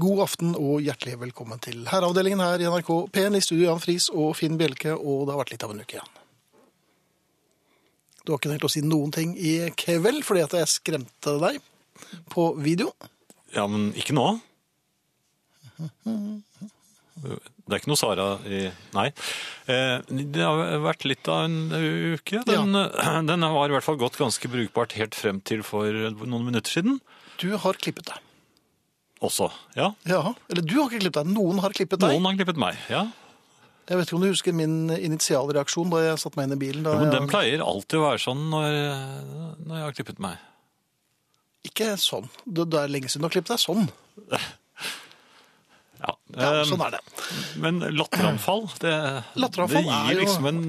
God aften og hjertelig velkommen til Herreavdelingen her i NRK P1 i studio Jan Friis og Finn Bjelke, og det har vært litt av en uke igjen. Du har ikke tenkt å si noen ting i kveld fordi at jeg skremte deg på video. Ja, men ikke nå. Det er ikke noe Sara i Nei. Eh, Det har vært litt av en uke. Den, eh, den har i hvert fall gått ganske brukbart helt frem til for noen minutter siden Du har klippet deg. også. Ja. Ja, Eller du har ikke klippet deg, noen har klippet deg. Noen har klippet meg. Ja. Jeg vet ikke om du husker min initialreaksjon da jeg satte meg inn i bilen. Da Jo, men den jeg, pleier alltid å være sånn når, når jeg har klippet meg. ikke sånn. Det, det er lenge siden du har klippet deg sånn. Ja, Ja, eh, sånn er det. Men latteranfall, det, Latteranfall det er gir jo- liksom en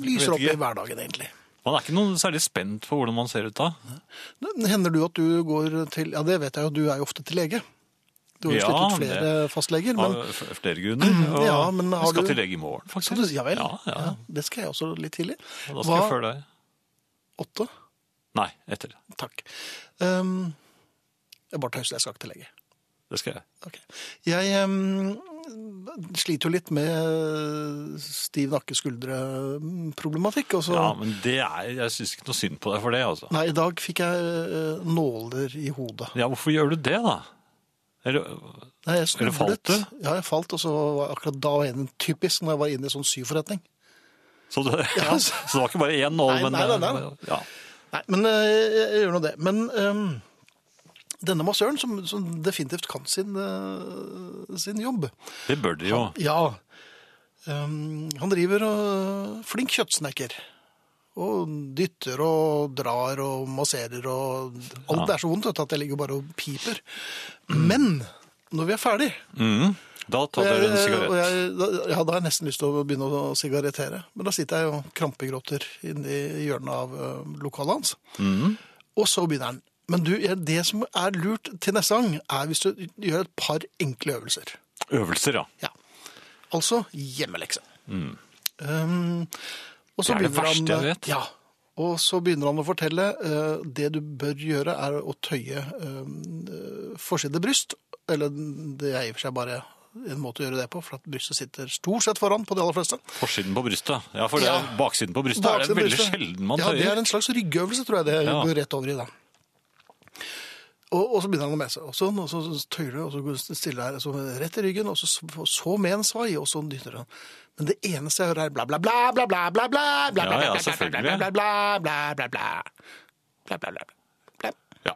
Lyser vet opp i ikke. hverdagen, egentlig. Man er ikke noe særlig spent på hvordan man ser ut da. Hender du at du går til Ja, det vet jeg jo, du er jo ofte til lege. Du har jo Ja, slitt ut flere fastleger, men Av f- flere grunner. Og Ja, men har vi skal du- til lege i morgen, faktisk. Skal du, ja vel. Ja, ja. Ja, det skal jeg også litt tidlig. Og Da skal jeg Hva- følge deg. Åtte? Nei, etter. Takk. Ehm, jeg bare tøyser, jeg skal ikke til lege. Det skal jeg. Ok. Jeg ehm, sliter jo litt med stiv nakke skuldre-problematikk. Og så, Ja, men det er, jeg syns ikke noe synd på deg for det, altså. Nei, i dag fikk jeg eh, nåler i hodet. Ja, hvorfor gjør du det, da? Eller, Nei, jeg Eller falt snublet. Ja, jeg falt, og så var akkurat da var jeg typisk når jeg var inne i sånn syforretning. så, det, Ja. så det var ikke bare én nål, Nei, men eh, nei, nei, nei. Ja. Nei, men eh, jeg, jeg gjør nå det. Men ehm, denne massøren, som, som definitivt kan sin, eh, sin jobb Det bør dere jo. Ja. Ehm, han driver og flink kjøttsnekker. Og dytter og drar og masserer og Alt Ja. er så vondt vet du, at jeg ligger bare og piper. Men når vi er ferdig Mhm. Da tar dere en Eh, og sigarett. jeg, da- Ja, da har jeg nesten lyst til å begynne å sigarettere. Men da sitter jeg og krampegråter inni hjørnet av eh, lokalet hans. Mhm. Og så begynner han. Men du, det som er lurt til neste gang, er hvis du gjør et par enkle øvelser. Øvelser, ja. Ja. Altså hjemmelekse. Um, og så Det er det begynner verste han, jeg vet. Ja, og så begynner han å fortelle eh, det du bør gjøre er å tøye eh, forside bryst, eller det er i og for seg bare en måte å gjøre det på, for at brystet sitter stort sett foran på de aller fleste. Forsiden på brystet. Ja, for det, Ja. baksiden på brystet er Baksiden det veldig brystet. sjelden man ja, tøyer. Det er en slags ryggøvelse, tror jeg det Ja. går rett over i. da. Og, og så begynner han å mese. Og sånn, og så tøyer du, og så går du stille her, og så rett i ryggen, og så, og så med en svai, og så dytter han. Men det eneste jeg hører, er bla, bla, bla, bla, bla, bla, bla, bla, Ja, ja, bla, bla, bla, bla, selvfølgelig. bla, bla, bla, bla, bla, bla. Bla, bla, bla, bla. Ja.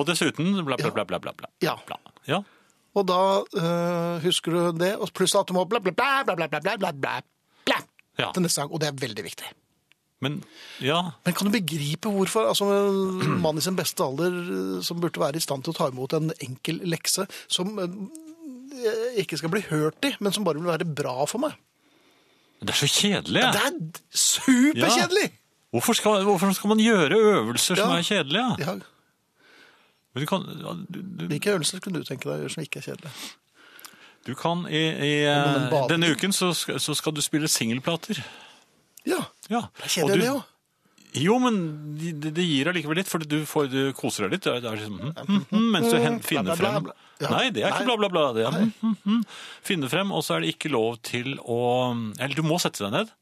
Og dessuten bla, bla, bla, bla, bla. bla. Ja. bla. ja. Og da eh, husker du det, og pluss at du må bla, bla, bla, bla, bla, bla, bla, bla, bla, Ja. til neste gang, og det er veldig viktig. Men ja, Men kan du begripe hvorfor altså, en mann i sin beste alder eh, som burde være i stand til å ta imot en enkel lekse, som eh, ikke skal bli hørt i, men som bare vil være bra for meg? det er så kjedelig. Det er d- superkjedelig! Hvorfor, skal, hvorfor skal man gjøre øvelser som Ja. er kjedelige? Ja, Men du kan, ja, du, du, Hvilke øvelser kunne du tenke deg å gjøre som ikke er kjedelige? du kan i, i eh, men baden- Denne uken så skal, så skal du spille singelplater. Ja, Ja. det er Og kjedelig du- det òg. Jo, men det, det gir allikevel litt, for du, får, du koser deg litt. Det er- det er liksom, hm, hm, hm, mens du hen, finner Mm, bla, bla, frem bla. Ja. Nei, det er ikke Nei. bla, bla, bla. Det er, hm, hm, hm. Finne frem, og så er det ikke lov til å Eller du må sette deg ned,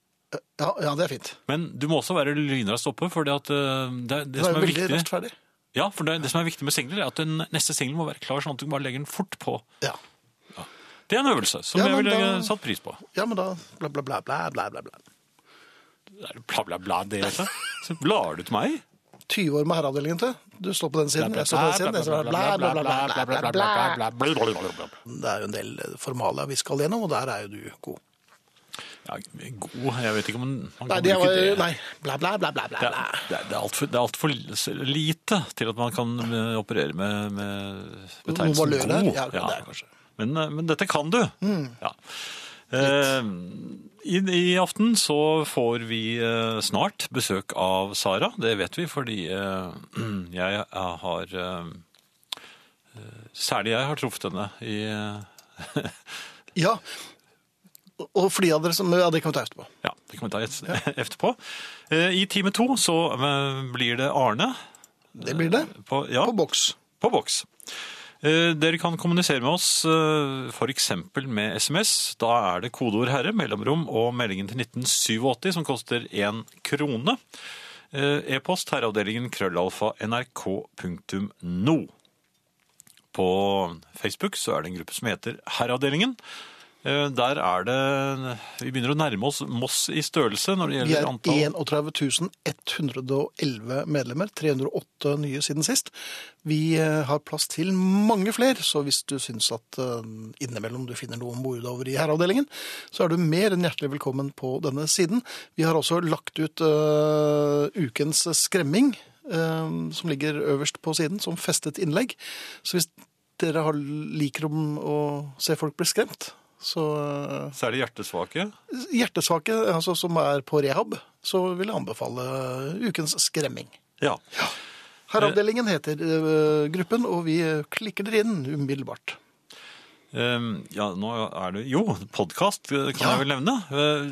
Ja, ja, det er fint. men du må også være lynraskt oppe. For det, at, eh, det, er- det, Det er som er jo veldig viktig, rettferdig. ja, for det, det som er viktig med singler, er at den neste singel må være klar, sånn at du bare legger den fort på. Ja. Det er en øvelse som Ja, jeg men ville da- satt pris på. ja, men da bla, bla, bla, bla, bla, bla. bla. Det er bla, bla, bla, det også. Så blar du til meg? 20 år med herreavdelingen til. Du står på den siden, jeg står på den siden. jeg står på den- Bla, bla, bla, bla, bla, bla, bla. Ja, Det er jo en del eh, formalia vi skal gjennom, og der er jo du god. god Jeg vet ikke om man kan Nei, det bruke var, det. nei, bla, bla, bla, bla, bla. Det bla. er, det er- det er altfor alt for lite til at man kan eh, operere med, med betegnelsen valører, god. ja, det er kanskje. Mm. Men, eh, men dette kan du. Ja. Eh, i, I aften så får vi eh, snart besøk av Sara. Det vet vi fordi eh, jeg har eh, eh, Særlig jeg har truffet henne i eh, Ja, og for de av dere som, ja, det kan vi ta etterpå. Ja, det kan vi ta et, etterpå. Eh, I time to så eh, blir det Arne Det blir det, på, ja, på boks. på boks. Eh, Dere kan kommunisere med oss eh, for eksempel med SMS. Da er det kodeord herre, mellomrom og meldingen til 1987 som koster én krone. Eh, E-post herreavdelingen krøllalfa nrk.no. På Facebook så er det en gruppe som heter Herreavdelingen. Eh, Der er det Vi begynner å nærme oss Moss i størrelse når det Vi er gjelder antall 31 111 medlemmer, 308 nye siden sist. Vi eh, har plass til mange flere, så hvis du syns at eh, innimellom du finner noe mordover i herreavdelingen, så er du mer enn hjertelig velkommen på denne siden. Vi har også lagt ut eh, ukens skremming, eh, som ligger øverst på siden, som festet innlegg. Så hvis dere har, liker om å se folk bli skremt, så eh, Særlig hjertesvake. hjertesvake altså, som er på rehab, så vil jeg anbefale ukens skremming. Ja. Herreavdelingen heter eh, gruppen, og vi klikker dere inn umiddelbart. Ehm, ja, nå er det Jo, podkast kan Ja. Mm. jeg vel nevne. Eh,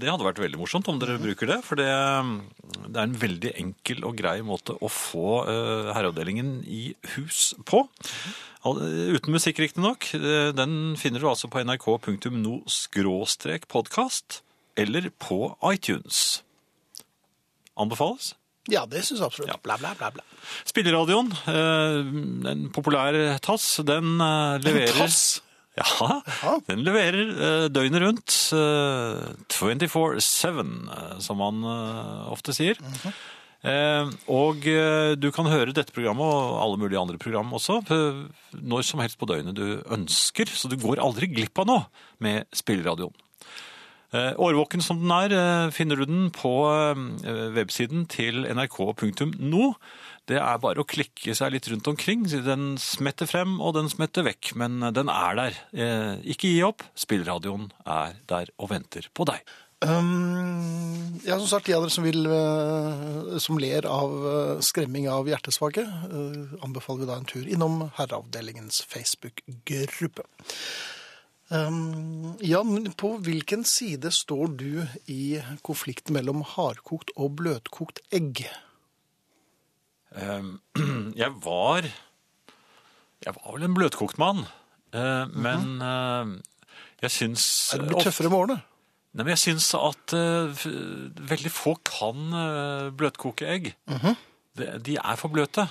Det hadde vært veldig morsomt om dere bruker det. For det, det er en veldig enkel og grei måte å få eh, herreavdelingen i hus på. Al- eh, Uten musikk, riktignok. Eh, Den finner du altså på nrk.no-podkast eller på iTunes. Anbefales. Ja, det syns jeg absolutt. Ja. Bla, bla, bla, bla. Spilleradioen, eh, en populær tass, den eh, leverer tass? Ja, Jaha. den leverer eh, døgnet rundt eh, 24-7, eh, som man eh, ofte sier. Eh, og eh, du kan høre dette programmet og alle mulige andre program også eh, når som helst på døgnet du ønsker, så du går aldri glipp av noe med spilleradioen. Eh, Årvåken som den er, eh, finner du den på eh, websiden til nrk.no. Det er bare å klikke seg litt rundt omkring. så Den smetter frem, og den smetter vekk, men den er der. Eh, Ikke gi opp. Spillradioen er der og venter på deg. Um, ja, som sagt, de av dere som, vil, eh, som ler av eh, skremming av hjertesvake, eh, anbefaler vi da en tur innom Herreavdelingens Facebook-gruppe. Um, Jan, på hvilken side står du i konflikten mellom hardkokt og bløtkokt egg? Eh, Jeg var Jeg var vel en bløtkokt mann, eh, men eh, jeg syns Mhm. Er det blitt tøffere med årene? Nei, men jeg syns at eh, f- veldig få kan eh, bløtkoke egg. Mhm. de, de er for bløte.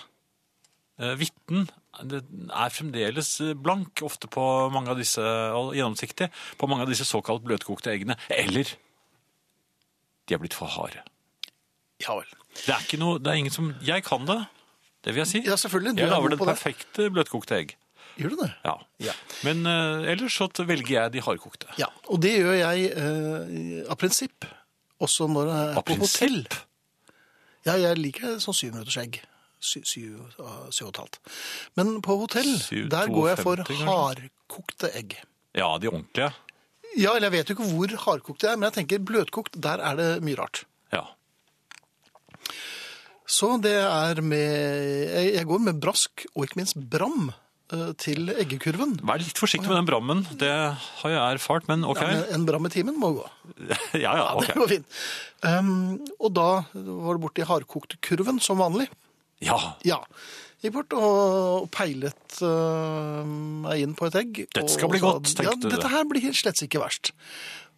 Eh, Hvitten det er fremdeles eh, blank, ofte på mange av disse, og gjennomsiktig, på mange av disse såkalt bløtkokte eggene. Eller de er blitt for harde. Ja vel. Det er ikke noe, det er ingen som, jeg kan det, det vil jeg si. Ja, selvfølgelig. Du Jeg er god lager det på det. perfekte bløtkokte egg. Gjør du det? Ja. Ja. Men eh, ellers så velger jeg de hardkokte. Ja, og det gjør jeg eh, av prinsipp, også når jeg er Av på hotell. prinsipp. Ja, jeg liker sånn syv minutters egg. Sy, syv, ah, syv og et halvt. Men på hotell, Syv, der går jeg for 52, kanskje? hardkokte egg. Ja, de ordentlige. Ja, eller jeg vet jo ikke hvor hardkokt det er, men jeg tenker bløtkokt, der er det mye rart. Ja. Så det er med Jeg jeg går med brask, og ikke minst bram, eh, til eggekurven. Vær litt forsiktig med den brammen, det har jeg erfart, men ok. Ja, men en bram i timen må gå. Ja, ja, Ja, ok. Det går fint. Um, og da var det borti hardkokt kurven, som vanlig. Ja, Ja. Gikk bort og og peilet øh, meg inn på et egg. Dette og skal bli sa, godt, tenkte du. Ja, dette her blir slett ikke verst.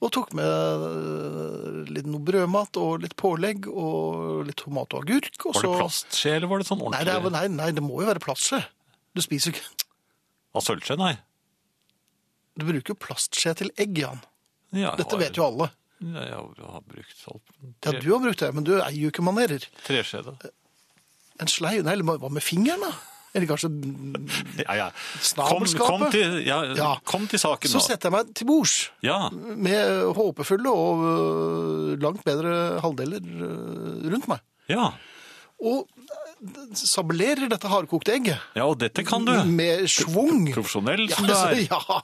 Og tok med øh, litt noe brødmat og litt pålegg og litt tomat og agurk. Og Var det så- plastskje, eller var det sånn Nei, ordentlig? det er, nei, nei, det må jo være plastskje. Du spiser jo ikke Av sølvskje, nei. Du bruker jo plastskje til egg, Jan. Ja, jeg Dette har- vet jo alle. Ja, Jeg har, jeg har brukt alt. Ja, Tre, du har brukt det, men du eier jo ikke manerer. Treskje, da. En slei Nei, eller hva med fingeren, da? Eller kanskje Ja, ja. Kom, Eh, Snabelskapet? kom, til, ja, Ja. kom til saken, Så da. setter jeg meg til bords. Ja, med håpefulle og øh, langt bedre halvdeler øh, rundt meg. ja. Og øh, sablerer dette hardkokte egget ja, og dette kan du. med schwung. Profesjonell Mm. Ja, som du altså, er. ja.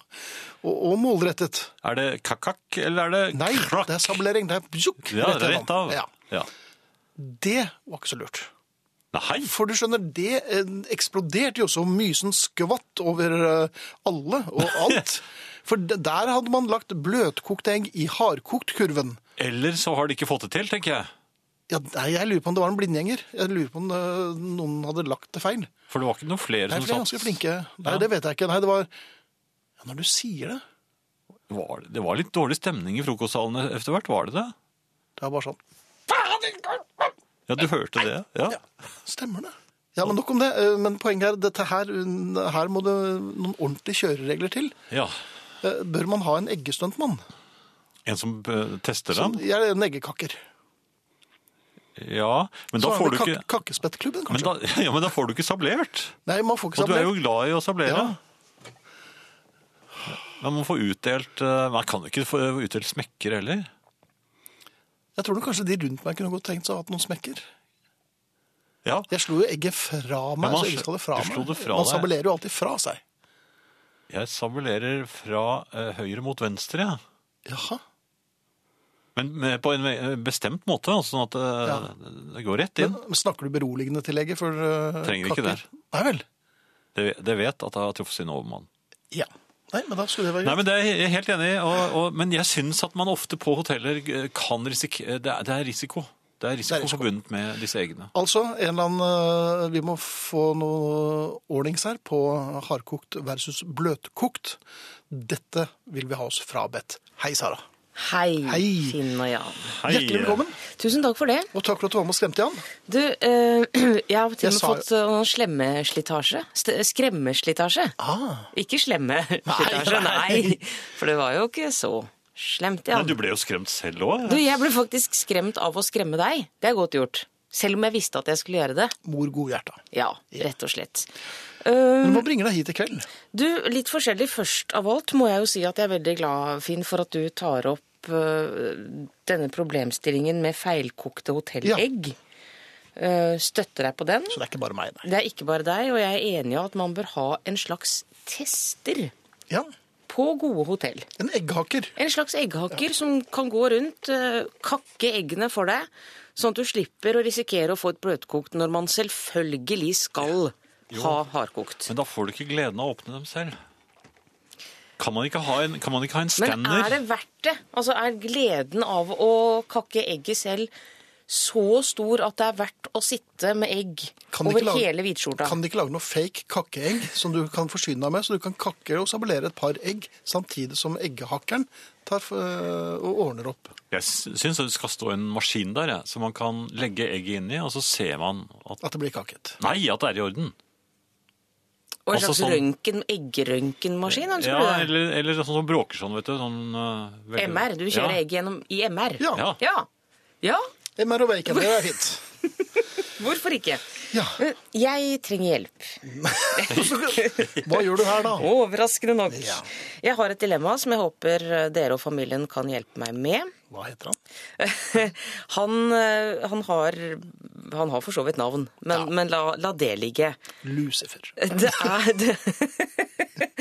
Og, og målrettet. Er det kakakk, eller er det Nei, krakk? det er sablering. Det er bjuk, Ja, rett av. Ja. Ja. Det var ikke så lurt. Nei, For du skjønner, det eh, eksploderte jo så mysen skvatt over eh, alle og alt. For d- der hadde man lagt bløtkokt egg i hardkokt kurven. eller så har de ikke fått det til, tenker jeg. Ja, nei, jeg lurer på om det var en blindgjenger. Jeg lurer på om eh, noen hadde lagt det feil. For det var ikke noen flere Nei, for de er som ganske satt flinke. Nei, Ja. det vet jeg ikke. Nei, det var ja, Når du sier det Var det, det var litt dårlig stemning i frokostsalene etter hvert, var det det? Det er bare sånn Ja, du hørte det? Ja. Sånn. Stemmer det. Ja, men nok om det. Eh, Men poenget er dette her, un- her må det noen ordentlige kjøreregler til. ja. Eh, Bør man ha en eggestuntmann? En som eh, tester Som- den? Jeg er en eggekakker. Ja, men da Så er får det du ikke kak Kakkespettklubben, men kanskje. da, ja, men da får du ikke sablert. Nei, man får ikke Og du er sablert. jo glad i å sablere. Ja. Man må få utdelt eh, Man kan jo ikke få utdelt smekker heller. Jeg tror nok kanskje de rundt meg kunne godt tenkt seg å ha hatt noen smekker. Ja. Jeg slo jo egget fra meg, man så egget skal det fra du slo meg. det fra man deg. sabellerer jo alltid fra seg. Jeg sablerer fra eh, høyre mot venstre, ja. Jaha. men med, på en ve- bestemt måte, altså, sånn at eh, det går rett inn. Men snakker du beroligende til egget for uh, Trenger ikke det. Nei vel. Det, det vet at jeg har truffet sin overmann. Ja. Nei, men da skulle det være Nei, greit. men Det er jeg helt enig i, og, og, men jeg syns at man ofte på hoteller eh, kan risikere det, er- det er risiko. Det er risiko, Det er risiko. forbundet med disse eggene. Altså, en eller annen, eh, vi må få noe ordnings her på hardkokt versus bløtkokt. Dette vil vi ha oss frabedt. Hei, Sara. Hei, Hei. Finn og Jan. Hei. Hjertelig velkommen. Tusen takk for det. Og takk for at du var med og skremte, Jan. Du, eh, jeg har Jeg til og sa med jo- fått eh, noen slemmeslitasje. St- eh, Skremmeslitasje. Ah. Ikke slemmeslitasje, nei, Nei, nei. For det var jo ikke så slemt, eh, Men Jan. du ble jo skremt selv eh. òg. Du, jeg ble faktisk skremt av å skremme deg. Det er godt gjort. Selv om jeg visste at jeg skulle gjøre det. Mor godhjerta. Ja, rett og slett. Men hva bringer deg hit i kveld? Du, litt forskjellig først av alt må jeg jo si at jeg er veldig glad, Finn, for at du tar opp øh, denne problemstillingen med feilkokte hotellegg. Øh, støtter deg på den. Så det er ikke bare meg, nei. Det er ikke bare deg, og jeg er enig i at man bør ha en slags tester Ja, på gode hotell. en egghaker. En slags egghakker som kan gå rundt, eh, kakke eggene for deg, sånn at du slipper å risikere å få et bløtkokt når man selvfølgelig skal ha hardkokt. Men da får du ikke gleden av å åpne dem selv. Kan man ikke ha en, kan man ikke ha en Men skanner? er det verdt det? Altså, er gleden av å kakke egget selv så stor at det er verdt å sitte med egg Kan de over ikke lage- hele hvitskjorta? Kan de ikke lage noe fake kakkeegg som du kan forsyne deg med, så du kan kakke og sabellere et par egg, samtidig som eggehakkeren tar øh, og ordner opp? Jeg sy- syns det skal stå en maskin der, jeg, som man kan legge egget inn i, og så ser man at At det blir kakket. Nei, at det er i orden. Og en altså slags sånn- røntgen, eggerøntgenmaskin? ønsker Ja, du det? eller, eller sånn som bråker sånn, vet du. Sånn, øh, veldig- MR? Du kjører ja. egg gjennom i MR? Ja. Ja. ja. Ja, MR og bacon, det er fint. hvorfor ikke? Ja. Men Jeg trenger hjelp. Hva gjør du her da? Overraskende nok. Ja. Jeg har et dilemma som jeg håper dere og familien kan hjelpe meg med. Hva heter han? han, eh, han, har, han har for så vidt navn, men, men la, la det ligge. Lucifer. Det er det.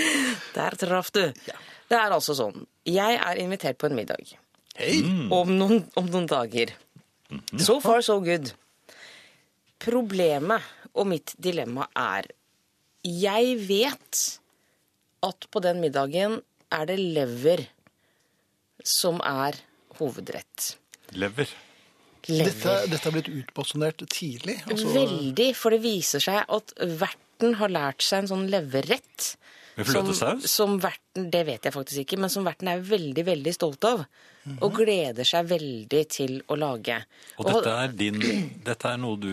Der traff du. Det er altså sånn. Jeg er invitert på en middag Hei! Mm. om noen, om noen dager. So far, so good. Problemet og mitt dilemma er Jeg vet at på den middagen er det lever som er hovedrett. Lever. Lever. Dette, dette er blitt utbasunert tidlig. Altså, Veldig, for det viser seg at verten har lært seg en sånn leverrett. Med fløtesaus? Som, som verten, det vet jeg faktisk ikke, men som verten er veldig, veldig stolt av. Og gleder seg veldig til å lage. Mhm. Og dette er din Dette er noe du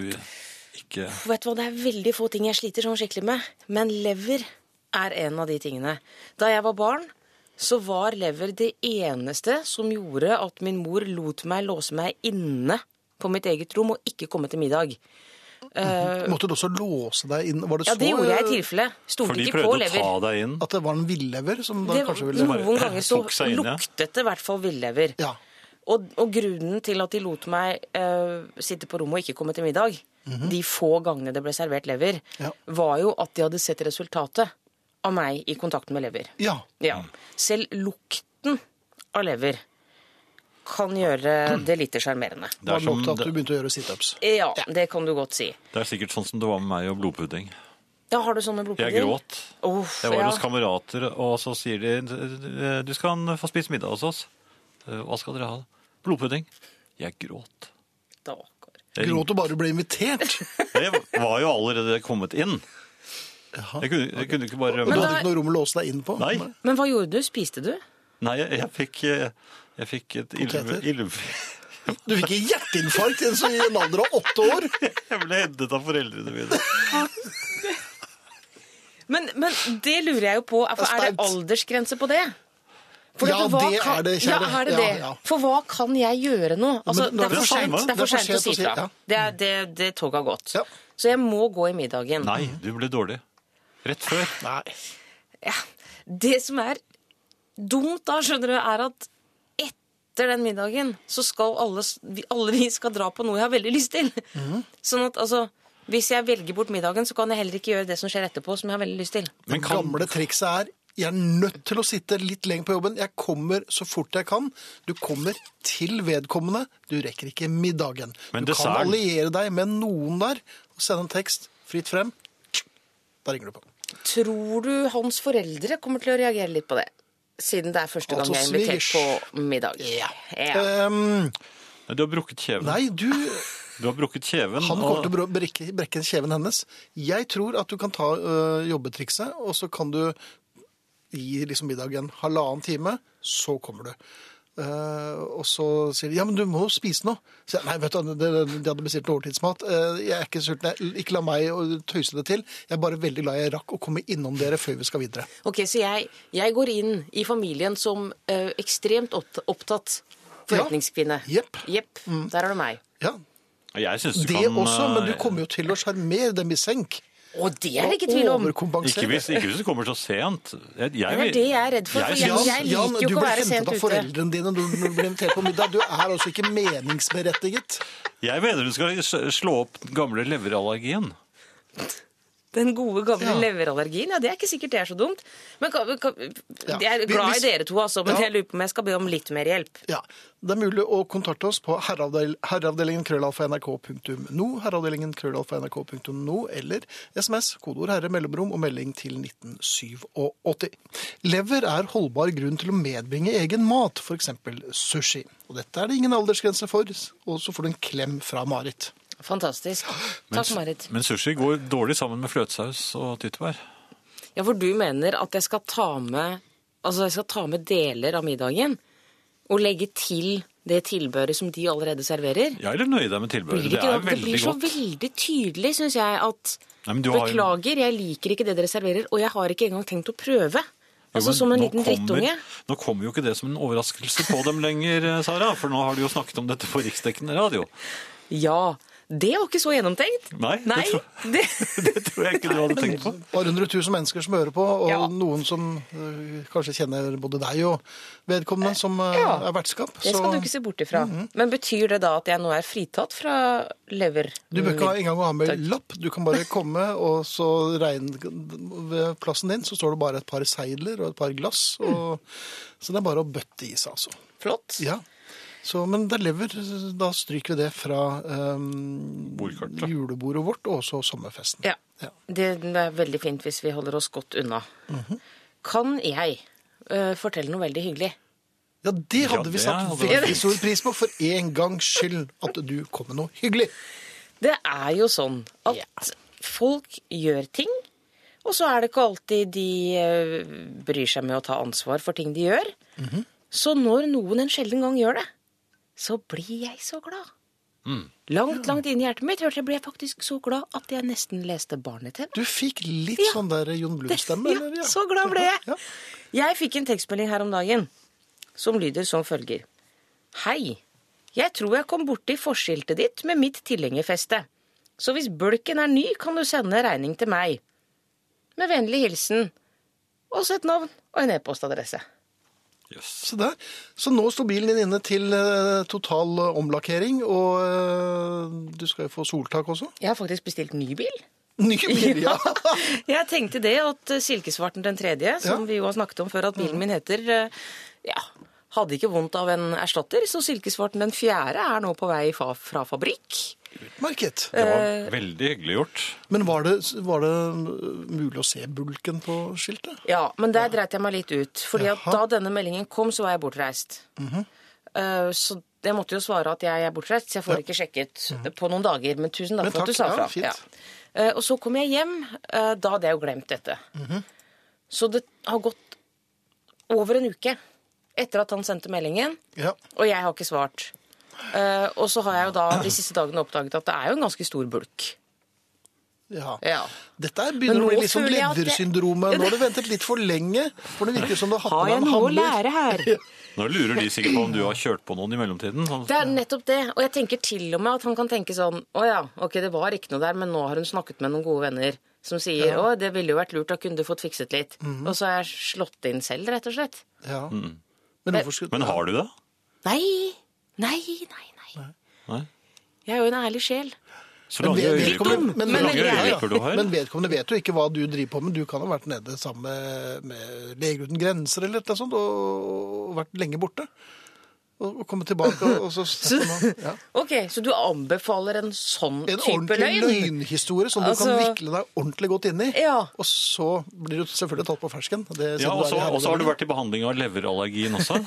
ikke vet du hva, det er veldig få ting jeg sliter sånn skikkelig med, men lever er en av de tingene. Da jeg var barn, så var lever det eneste som gjorde at min mor lot meg låse meg inne på mitt eget rom og ikke komme til middag. Måtte du også låse deg inn? Var det Ja, så øh, det gjorde jeg i tilfelle. For Stolte de ikke på prøvde å lever. ta deg inn. At det var en villever som da det, kanskje ville bare Noen ganger så tok seg inn, ja. luktet det i hvert fall villever. Ja. Og, og grunnen til at de lot meg eh, sitte på rommet og ikke komme til middag, Mhm. de få gangene det ble servert lever, Ja. var jo at de hadde sett resultatet av meg i kontakten med lever. ja. Ja. Mm. Selv lukten av lever kan gjøre det lite sjarmerende. Det Var er, det nok som, til at det, du begynte å gjøre situps? Ja, det kan du godt si. det er sikkert sånn som det var med meg og blodpudding. Ja, har du sånne blodpudding? Jeg gråt. Uff, Jeg var ja. hos kamerater, og så sier de du skal få Eh, spise middag hos oss. Hva skal dere ha? Blodpudding. Jeg gråt. Stakkars. Gråt du bare du ble invitert? Jeg var jo allerede kommet inn. Jaha. Jeg kunne, jeg kunne ikke bare Og du rømme. hadde ikke noe rom å låse deg inn på? Nei, Men hva gjorde du? Spiste du? nei jeg, jeg, fikk, eh, jeg fikk et ille- Poteter? ille... Du fikk ikke hjerteinfarkt i en så- i en alder av åtte år? Jeg ble hentet av foreldrene mine. Men, men det lurer jeg jo på. Er, Det er er Altså, det staut. aldersgrense på det? For Ja, at hva det kan- er det, kjære. Ja, er det Ja, det? ja. For hva kan jeg gjøre nå? Men Altså, det, det er er for samme. sent, det er for sent å si ja. fra. Det, er- det, det toget har gått. Ja. Så jeg må gå i middagen. Nei, du ble dårlig. Rett før. Nei. Ja. Det som er dumt da, skjønner du, er at etter den middagen så skal alle, s- vi- alle vi skal dra på noe jeg har veldig lyst til. Sånn at altså, hvis jeg velger bort middagen, så kan jeg heller ikke gjøre det som skjer etterpå, som jeg har veldig lyst til. Det Men kan- gamle trikset er jeg er nødt til å sitte litt lenger på jobben. Jeg kommer så fort jeg kan. Du kommer til vedkommende. Du rekker ikke middagen. Men du kan desserten- alliere deg med noen der og sende en tekst fritt frem. Da ringer du på. Tror du hans foreldre kommer til å reagere litt på det? Siden det er første gang Altså, jeg er invitert svigers. på middag. Ja. Ehm, Nei, Du har brukket kjeven. nei, du Du har brukket kjeven. Han kommer og- til å bro- brekke, brekke kjeven hennes. Jeg tror at du kan ta øh, jobbetrikset, og så kan du gi liksom middagen halvannen time, så kommer du. Eh, og så sier de ja, men du må jo spise noe. Så jeg, Nei, vet du, de, de hadde bestilt noe overtidsmat. Eh, jeg er ikke sulten. Jeg, ikke la meg å tøyse det til. Jeg er bare veldig glad jeg rakk å komme innom dere før vi skal videre. Ok, så jeg, jeg går inn i familien som eh, ekstremt oppta- opptatt forretningskvinne. Ja. Jepp. Mm. Jepp. Der har du meg. Ja, Jeg synes du Det kan også, men du eh, kommer jo til å sjarmere dem i senk. Og det er det ikke tvil om. Overkompensere. Ikke hvis, ikke hvis du kommer så sent. Jeg, jeg, Det er det jeg er redd for, for Jeg, jeg- synes- liker jo ikke å være Du ble hentet sent av ute. foreldrene dine når du når du ble invitert på middag. Du er altså ikke meningsberettiget. jeg mener du skal s- slå opp den gamle leverallergien. Den gode, gamle Ja. leverallergien. Ja, det er ikke sikkert det er så dumt. Men kan, kan, Ja. Jeg er Vi- glad hvis- i dere to, altså, men Ja. jeg lurer på om jeg skal be om litt mer hjelp. Ja, Det er mulig å kontakte oss på herreavdel herreavdelingen krøllalfa nrk.no, herreavdelingen krøllalfa nrk.no, eller SMS, kodeord herre, mellomrom og melding til 1987. Lever er holdbar grunn til å medbringe egen mat, f.eks. sushi. Og dette er det ingen aldersgrense for, og så får du en klem fra Marit. Fantastisk. Takk, Marit. Men sushi går dårlig sammen med fløtesaus og tyttebær. Ja, for du mener at jeg skal ta med Altså, jeg skal ta med deler av middagen og legge til det tilbøret som de allerede serverer? Jeg vil nøye deg med tilbehøret. Blir Det, det, ikke, er det, det veldig blir så godt. veldig tydelig, syns jeg, at Nei, men du har jo- Beklager, jeg liker ikke det dere serverer, og jeg har ikke engang tenkt å prøve. Jo, Altså men som en nå liten kommer- drittunge. Nå kommer jo ikke det som en overraskelse på dem lenger, eh, Sara. For nå har du jo snakket om dette på riksdekkende radio. Ja. Det var ikke så gjennomtenkt. Nei, det Nei tror- det, Det tror jeg ikke du hadde tenkt på. Et par hundre tusen mennesker som hører på, og Ja. noen som øh, kanskje kjenner både deg og vedkommende som øh, Eh, Ja. er vertskap. det skal så- du ikke se bort ifra. Mhm. Men betyr det da at jeg nå er fritatt fra lever? Du bør ikke ha- engang ha med Takk. lapp. Du kan bare komme, og så regn, ved plassen din så står det bare et par seidler og et par glass. Mm. Og, så det er bare å bøtte i seg, altså. Flott. Ja. Så, men det lever. Da stryker vi det fra ehm, Bordkartet. julebordet vårt og også sommerfesten. Ja. Det er veldig fint hvis vi holder oss godt unna. Kan jeg eh, fortelle noe veldig hyggelig? Ja, det Ja, hadde det vi satt hadde veldig stor pris på, for en gangs skyld at du kom med noe hyggelig. Det er jo sånn at folk gjør ting, og så er det ikke alltid de eh, bryr seg med å ta ansvar for ting de gjør. Så når noen en sjelden gang gjør det, så blir jeg så glad. Langt, langt inn i hjertet mitt hørte jeg ble jeg faktisk så glad at jeg nesten leste Barne-TV. Du fikk litt Ja. sånn der Jon Blund-stemme, Ja, eller? så glad ble jeg. Ja. Jeg fikk en tekstmelding her om dagen som lyder som følger. Hei. Jeg tror jeg kom borti forskiltet ditt med mitt tilhengerfeste. Så hvis bulken er ny, kan du sende regning til meg. Med vennlig hilsen. Også et navn og en e-postadresse. Yes. Se der. Så nå står bilen din inne til eh, total eh, omlakkering, og eh, du skal jo få soltak også. Jeg har faktisk bestilt ny bil. Ny bil, ja! Jeg tenkte det at eh, Silkesvarten den tredje, som Ja. Mm. vi jo har snakket om før at bilen min heter, eh, ja, hadde ikke vondt av en erstatter, så Silkesvarten den fjerde er nå på vei fa fra fabrikk. Market. Det Eh. var veldig hyggelig gjort. Men var det, var det eh, mulig å se bulken på skiltet? Ja, men der dreit jeg meg litt ut. Fordi at Jaha. Mhm. da denne meldingen kom, så var jeg bortreist. Eh, så Jeg måtte jo svare at jeg er bortreist, så jeg får ikke sjekket på noen dager. Men tusen takk Mhm. Men for at du takk, sa ja, fra. fint. Eh, Og så kom jeg hjem. eh, Da hadde jeg jo glemt dette. Mhm. Så det har gått over en uke etter at han sendte meldingen, Ja. og jeg har ikke svart. Eh, og så har jeg jo da de siste dagene oppdaget at det er jo en ganske stor bulk. ja. Ja. Dette er begynner å Men bli nå litt sånn føler jeg at det- ledersyndromet. Nå har du ventet litt for lenge, for det virker som du har hatt Har med jeg deg en noe å handler. lære her? Nå lurer de sikkert på om du har kjørt på noen i mellomtiden. Sånn. Det er nettopp det. Og jeg tenker til og med at han kan tenke sånn Å ja, ok, det var ikke noe der, men nå har hun snakket med noen gode venner som sier Å, det ville jo vært lurt, da kunne du fått fikset litt. Og så har jeg slått det inn selv, rett og slett. Ja. Men hvorfor skulle Men har du det? Nei! Nei, nei, nei. Nei. Jeg er jo en ærlig sjel. Så Men lange ved- øyevipper vedkommende- så men- lange men- ja, ja. øyevipper du har. Men vedkommende vet jo ikke hva du driver på med. Du kan ha vært nede sammen med, med Leger uten grenser eller noe sånt, og, og vært lenge borte. Og, og komme tilbake og, og så ja. Ok, så du anbefaler en sånn En type ordentlig løgn? løgnhistorie som du kan Altså- vikle deg ordentlig godt inn i. Ja. Og så blir du selvfølgelig tatt på fersken. Det, Ja, sånn og det er i så herredagen. og så har du vært i behandling av leverallergien også.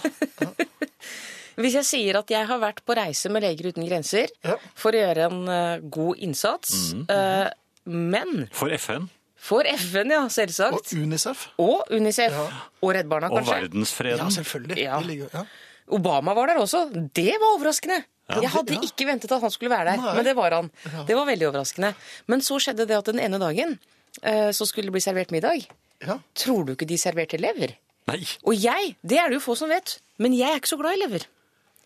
Hvis jeg sier at jeg har vært på reise med Leger uten grenser Ja. for å gjøre en eh, god innsats, eh, men For FN for FN, ja, selvsagt. Og Unicef. Og Unicef. Og Redd Barna, og kanskje. Ja, verdensfreden. selvfølgelig. Ja. Det ligger jo- ja. Obama var der også. Det var overraskende. Jeg hadde Ja. ikke ventet at han skulle være der, Nei. men det var han. Det var veldig overraskende. Men så skjedde det at den ene dagen eh, så skulle det bli servert middag. Ja. Tror du ikke de serverte lever? Nei, Og jeg, det er det jo få som vet, men jeg er ikke så glad i lever.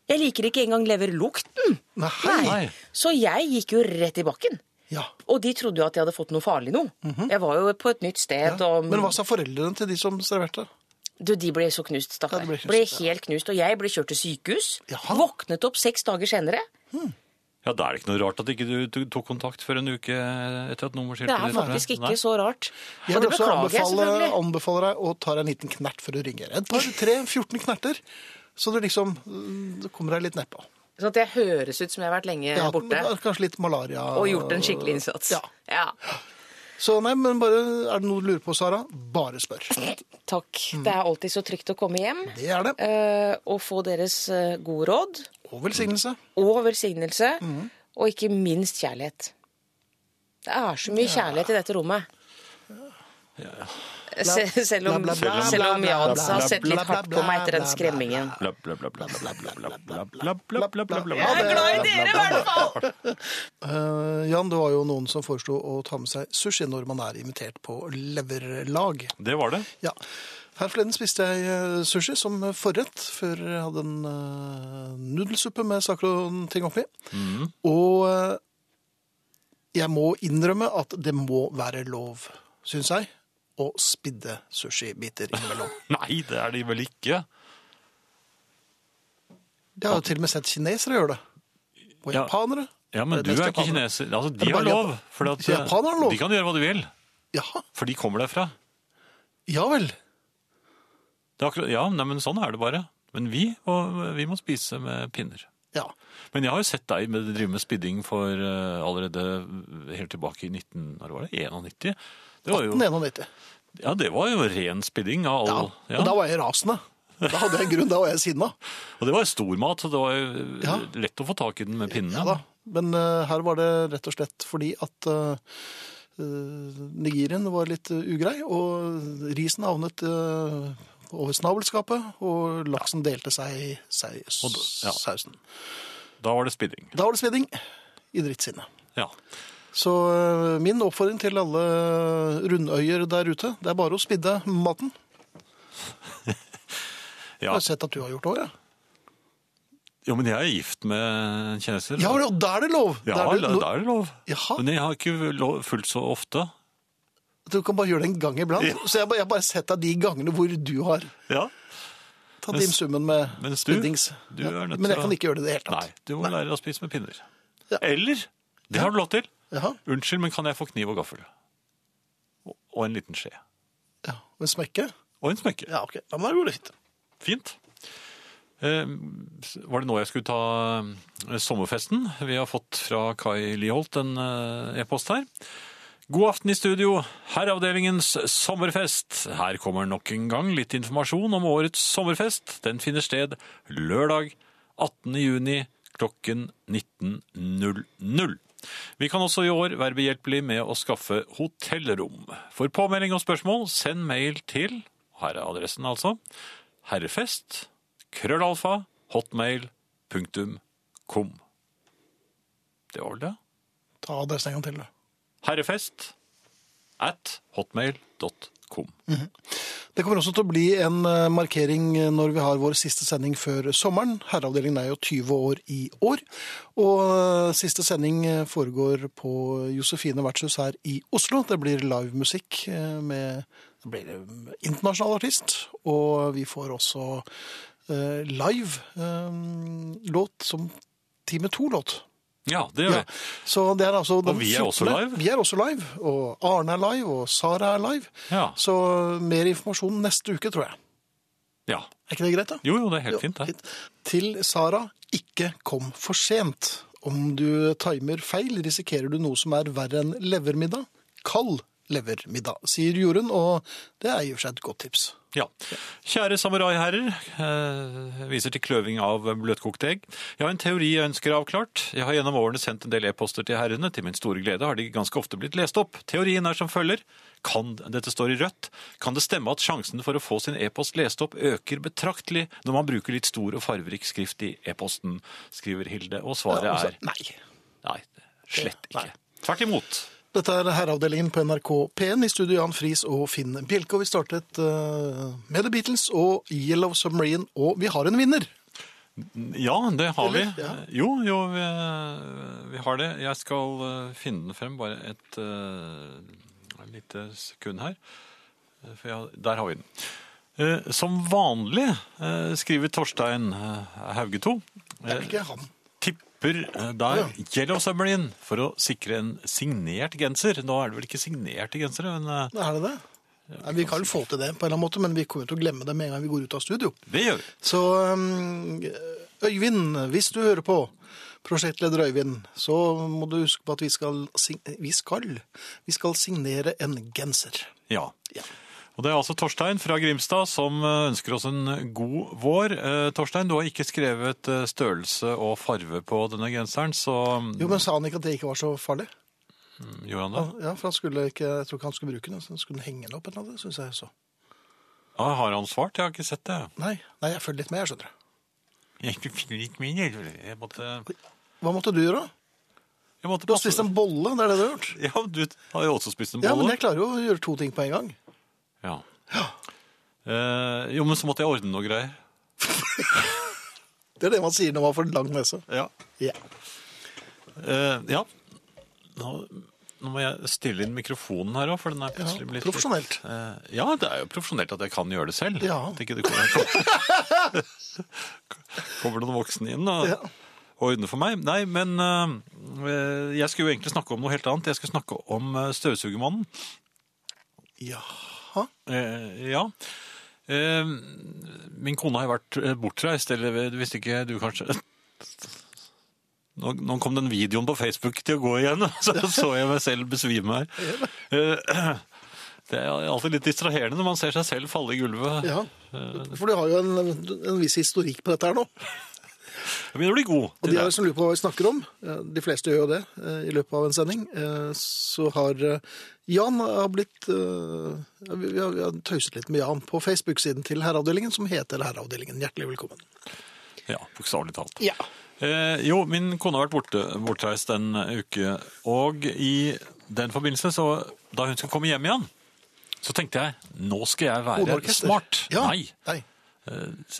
Jeg liker ikke engang leverlukten. Nei. Nei. Så jeg gikk jo rett i bakken. Ja. Og de trodde jo at jeg hadde fått noe farlig nå. Jeg var jo på et nytt sted. Mhm. ja. Og, Men hva sa foreldrene til de som serverte? Du, de ble så knust, Ja, stakkar. de ble, ble knust, helt knust. Og jeg ble kjørt til sykehus. Jaha. Våknet opp seks dager senere. ja, Da er det ikke noe rart at ikke du ikke tok kontakt før en uke etter at Det nummerskiltet er ditt ble- faktisk ikke Nei. så rart. Jeg Og vil det også beklager jeg anbefale, selvfølgelig. anbefale deg å ta deg en liten knert før du ringer. Et par, tre, 14 knerter, så du liksom mm, du kommer deg litt nedpå. Sånn at jeg høres ut som jeg har vært lenge Ja, borte men Kanskje litt malaria. og gjort en skikkelig innsats. Ja. Ja. Så nei, men bare, er det noe du lurer på, Sara? Bare spør. Takk. Mm. Det er alltid så trygt å komme hjem Det er det. eh, og få deres eh, gode råd Og velsignelse. og velsignelse, Mm. og ikke minst kjærlighet. Det er så mye kjærlighet i dette rommet. Se, selv om, Bla, bla, bla, selv om bla, bla, Jans har bla, sett bla, bla, litt hardt på meg etter bla, bla, den bla. skremmingen. Bla, bla, bla, bla, bla, bla, bla, bla, bla, bla, bla, bla, bla. Jeg er glad i dere, i hvert fall! Eh, Jan, det var jo noen som foreslo å ta med seg sushi når man er invitert på leverlag. Det var det. Ja. Her forleden spiste jeg eh, sushi som forrett, før jeg hadde en eh, nudelsuppe med saker og ting oppi. Mhm. Og eh, jeg må innrømme at det må være lov, syns jeg, å spidde sushibiter innimellom. Nei, det er de vel ikke. Jeg har jo til og med sett kinesere gjøre det. Og Ja. japanere. Ja, Det men du mest er ikke japanere. kineser. Altså, Er de det har bare lov. Japan- For at, Japan har lov. De kan gjøre hva de vil, Jaha. for de kommer derfra. Ja vel. Det er akkurat, ja, nei, men sånn er det bare. Men vi, og, vi må spise med pinner. Ja. Men jeg har jo sett deg med, drive med spidding for eh, allerede helt tilbake i 19... Når var det? 91? Det var jo, 1991. ja, det var jo ren spidding av Ja. all... Ja. Og da var jeg rasende. Da hadde jeg grunn, da var jeg sinna. Og det var stormat, så det var jo eh, Ja. lett å få tak i den med pinnene. Ja da. Men eh, her var det rett og slett fordi at uh, Nigerien var litt eh, ugrei, og risen havnet eh, over snabelskapet, og laksen delte seg i seg, Og da- ja. sausen. Da var det spidding. Da var det svidding i drittsinnet. Ja. Så eh, min oppfordring til alle rundøyer der ute, det er bare å spidde maten. Jeg ja. har sett at du har gjort det òg, jeg. Jo, men jeg er gift med en kineser. Ja, og da er det lov! Ja, Da er det, da er det lov. Jaha. Men jeg har ikke lov, fullt så ofte. Du kan bare gjøre det en gang iblant. Ja. Så jeg har bare- jeg har bare sett deg de gangene hvor du har Ja. tatt Mens- inn summen med mens du- spiddings. du Ja, er nødt Men jeg til å- kan ikke gjøre det i det hele Nei, tatt. du må lære deg å spise med pinner. Ja. Eller, det har du lov til. Jaha. Unnskyld, men kan jeg få kniv og gaffel? Og- Og en liten skje. Ja. Men smekke? Og en smøkke. Ja, ok. Ja, men da går det fint. Fint. Eh, var det nå jeg skulle ta eh, sommerfesten? Vi har fått fra Kai Liholt en eh, e-post her. God aften i studio, Herreavdelingens sommerfest. Her kommer nok en gang litt informasjon om årets sommerfest. Den finner sted lørdag 18. juni klokken 19.00. Vi kan også i år være behjelpelig med å skaffe hotellrom. For påmelding og spørsmål, send mail til, her er adressen altså, herrefest, krøllalfa, hotmail, punktum, kom. Det var vel det? Ta adressen en gang til. du. Herrefest at hotmail.com. Det kommer også til å bli en eh, markering når vi har vår siste sending før sommeren. Herreavdelingen er jo 20 år i år. Og eh, siste sending eh, foregår på Josefine Vertshus her i Oslo. Det blir livemusikk eh, med det blir eh, internasjonal artist. Og vi får også eh, live eh, låt som Time 2-låt. Ja, det gjør Ja. vi. Så det er altså den vi er også 14.. live. Vi er også live. Og Arne er live, og Sara er live. Ja. Så mer informasjon neste uke, tror jeg. ja. Er ikke det greit, da? Jo, jo, det er helt fint, det. Til Sara ikke kom for sent. Om du timer feil, risikerer du noe som er verre enn levermiddag. Kald levermiddag, sier Jorunn, og det er i og for seg et godt tips. Ja. Kjære samuraiherrer, eh, viser til kløving av bløtkokte egg. Jeg har en teori jeg ønsker avklart. Jeg har gjennom årene sendt en del e-poster til herrene. Til min store glede har de ganske ofte blitt lest opp. Teorien er som følger. Kan, dette står i rødt. Kan det stemme at sjansen for å få sin e-post lest opp øker betraktelig når man bruker litt stor og farverik skrift i e-posten, skriver Hilde. Og svaret Altså, er Nei. nei, slett Nei. ikke. Tvert imot. Dette er Herreavdelingen på NRK P1 i studio Jan Friis og Finn Bjelke. Og vi startet eh, med The Beatles og Yellow Submarine, og vi har en vinner. Ja, det har Eller? vi. Ja. Jo, jo, vi, eh, vi har det. Jeg skal eh, finne den frem bare et eh, lite sekund her. Eh, For jeg, der har vi den. Eh, Som vanlig, eh, skriver Torstein eh, Hauge 2, Det er ikke han. tipper eh, Å, der ja. Yellow Submarine for å sikre en signert genser. Nå er det vel ikke signerte gensere, men eh, Er det det? Nei, vi kan få til det på en eller annen måte, men vi kommer til å glemme det med en gang vi går ut av studio. det gjør vi. Så um, Øyvind, hvis du hører på, prosjektleder Øyvind, så må du huske på at vi skal, sign- vi skal, vi skal signere en genser. Ja. Ja. Og det er altså Torstein fra Grimstad som eh, ønsker oss en god vår. Eh, Torstein, du har ikke skrevet eh, størrelse og farve på denne genseren, så mm, Jo, men sa han ikke at det ikke var så farlig? gjorde han det. Ja, for han skulle ikke, jeg tror ikke han skulle bruke den, så han skulle henge den opp eller noe, synes jeg så. Ah, har han svart? Jeg har ikke sett det. Nei, nei, jeg følger litt med, jeg skjønner. Jeg finner ikke min hjelm. Jeg måtte, Hva måtte du gjøre? jeg måtte Du har spist en bolle, det er det du har gjort. Ja, du har jo også spist en Ja, men bolle. jeg klarer jo å gjøre to ting på en gang. Ja. Eh, jo, men så måtte jeg ordne noe greier. Det er det man sier når man får lang nese. Ja. Ja. Eh, ja. Nå, nå må jeg stille inn mikrofonen her òg, for den er plutselig Ja, blitt profesjonelt. Eh, ja, det er jo profesjonelt at jeg kan gjøre det selv. Ja. At ikke det kommer, kommer noen voksne inn og, Ja. og ordner for meg. Nei, men eh, jeg skulle jo egentlig snakke om noe helt annet. Jeg skulle snakke om eh, støvsugermannen. Jaha. Eh, ja. Eh, min kone har jo vært eh, bortreist, eller du visste ikke du kanskje nå, nå kom den videoen på Facebook til å gå igjen, så så jeg meg selv besvime her. Eh, det er alltid litt distraherende når man ser seg selv falle i gulvet. Ja, Eh, for du har jo en, en viss historikk på dette her nå. Jeg begynner å bli god. Og de av til det. dere som lurer på hva vi snakker om, eh, de fleste gjør jo det eh, i løpet av en sending, eh, så har eh, Jan har blitt eh, ja, Vi vi har, vi har tøyset litt med Jan på Facebook-siden til Herreavdelingen, som heter Herreavdelingen. Hjertelig velkommen. Ja, bokstavelig talt. Ja. Eh, jo, min kone har vært borte, bortreist en uke, og i den forbindelse, så, da hun skulle komme hjem igjen, så tenkte jeg, nå skal jeg være Kodeorkester. smart. Ja. Nei, Eh,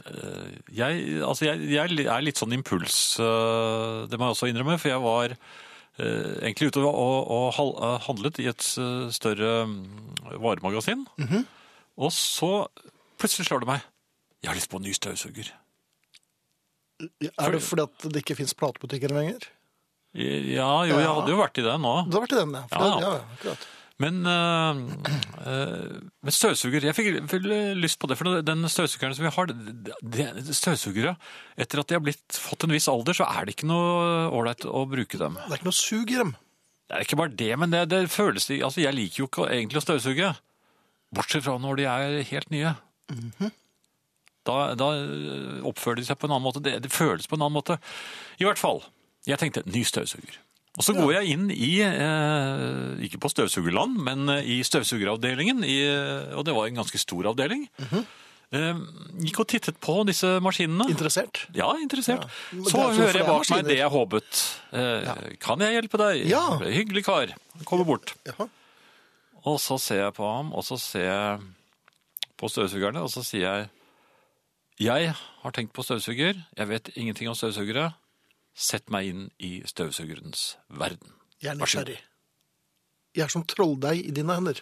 jeg, altså jeg, jeg er litt sånn impuls, eh, det må jeg også innrømme, for jeg var eh, egentlig ute og, og, og hal- eh, handlet i et eh, større mm, varemagasin. Mhm. Og så plutselig slår det meg. Jeg har lyst på en ny støvsuger. Er det fordi at det ikke fins platebutikker lenger? Ja, jo, jeg Ja. hadde jo vært i det nå. Det har vært i den, ja. For Ja, det- ja. ja, akkurat. Men, øh, øh, men støvsuger Jeg fikk vel lyst på det, for den støvsugeren som vi har det- det- Støvsugere Etter at de har blitt, fått en viss alder, så er det ikke noe ålreit å bruke dem. Det er ikke noe sug i dem. Det er ikke bare det, men det, det føles Altså, jeg liker jo ikke egentlig å støvsuge. Bortsett fra når de er helt nye. Da, da eh, oppfører de seg på en annen måte. Det, det føles på en annen måte. I hvert fall. Jeg tenkte ny støvsuger. Og så går jeg inn i, eh, ikke på støvsugerland, men eh, i støvsugeravdelingen, i, eh, og det var en ganske stor avdeling. eh, gikk og tittet på disse maskinene. Interessert? Ja, interessert. Men det Så er altså for hører jeg det er bak meg maskiner. det jeg håpet. Eh, Kan jeg hjelpe deg? Ja. Hyggelig kar. Kommer bort. Jaha. Og så ser jeg på ham, og så ser jeg på støvsugerne, og så sier jeg Jeg har tenkt på støvsuger. Jeg vet ingenting om støvsugere. Sett meg inn i støvsugerens verden. Jeg er Vær så god. nysgjerrig. Jeg er som trolldeig i dine hender.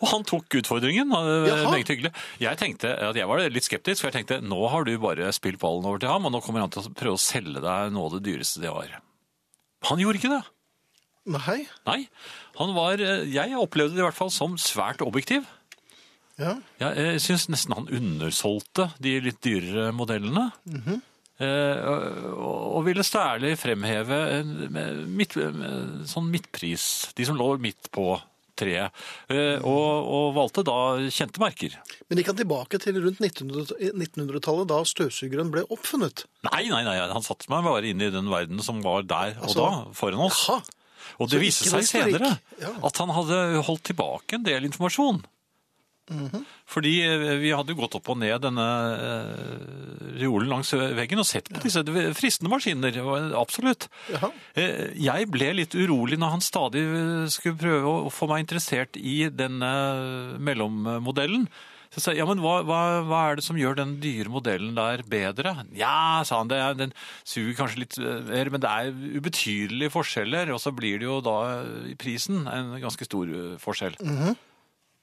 Og han tok utfordringen. eh, Jaha. Meget hyggelig. Jeg tenkte at jeg var litt skeptisk, for jeg tenkte nå har du bare spilt ballen over til ham, og nå kommer han til å prøve å selge deg noe av det dyreste det var. Han gjorde ikke det. Nei? Nei. Han var, eh, jeg opplevde det i hvert fall som svært objektiv. Ja. Jeg, jeg syns nesten han undersolgte de litt dyrere modellene. Eh, og, og ville særlig fremheve en, eh, midt, eh, sånn midtpris, de som lå midt på treet. Eh, og, og valgte da kjente merker. Men de kan tilbake til rundt 1900 1900-tallet, da støvsugeren ble oppfunnet. Nei, nei, nei, han satte meg bare inn i den verden som var der og Altså, da, foran oss. Jaha. Og det så ikke viste seg noe senere historikk. Ja. at han hadde holdt tilbake en del informasjon. Mhm. Fordi eh, vi hadde jo gått opp og ned denne eh, reolen langs veggen og sett på disse fristende maskiner. og- Absolutt. Jaha. Eh, Jeg ble litt urolig når han stadig eh, skulle prøve å få meg interessert i denne eh, mellommodellen. Så sa jeg, ja, men hva, hva, hva er det som gjør den dyre modellen der bedre? Ja, sa han, det, er- den suger kanskje litt eh, mer, men det er ubetydelige forskjeller, og så blir det jo da eh, i prisen en ganske stor eh, forskjell.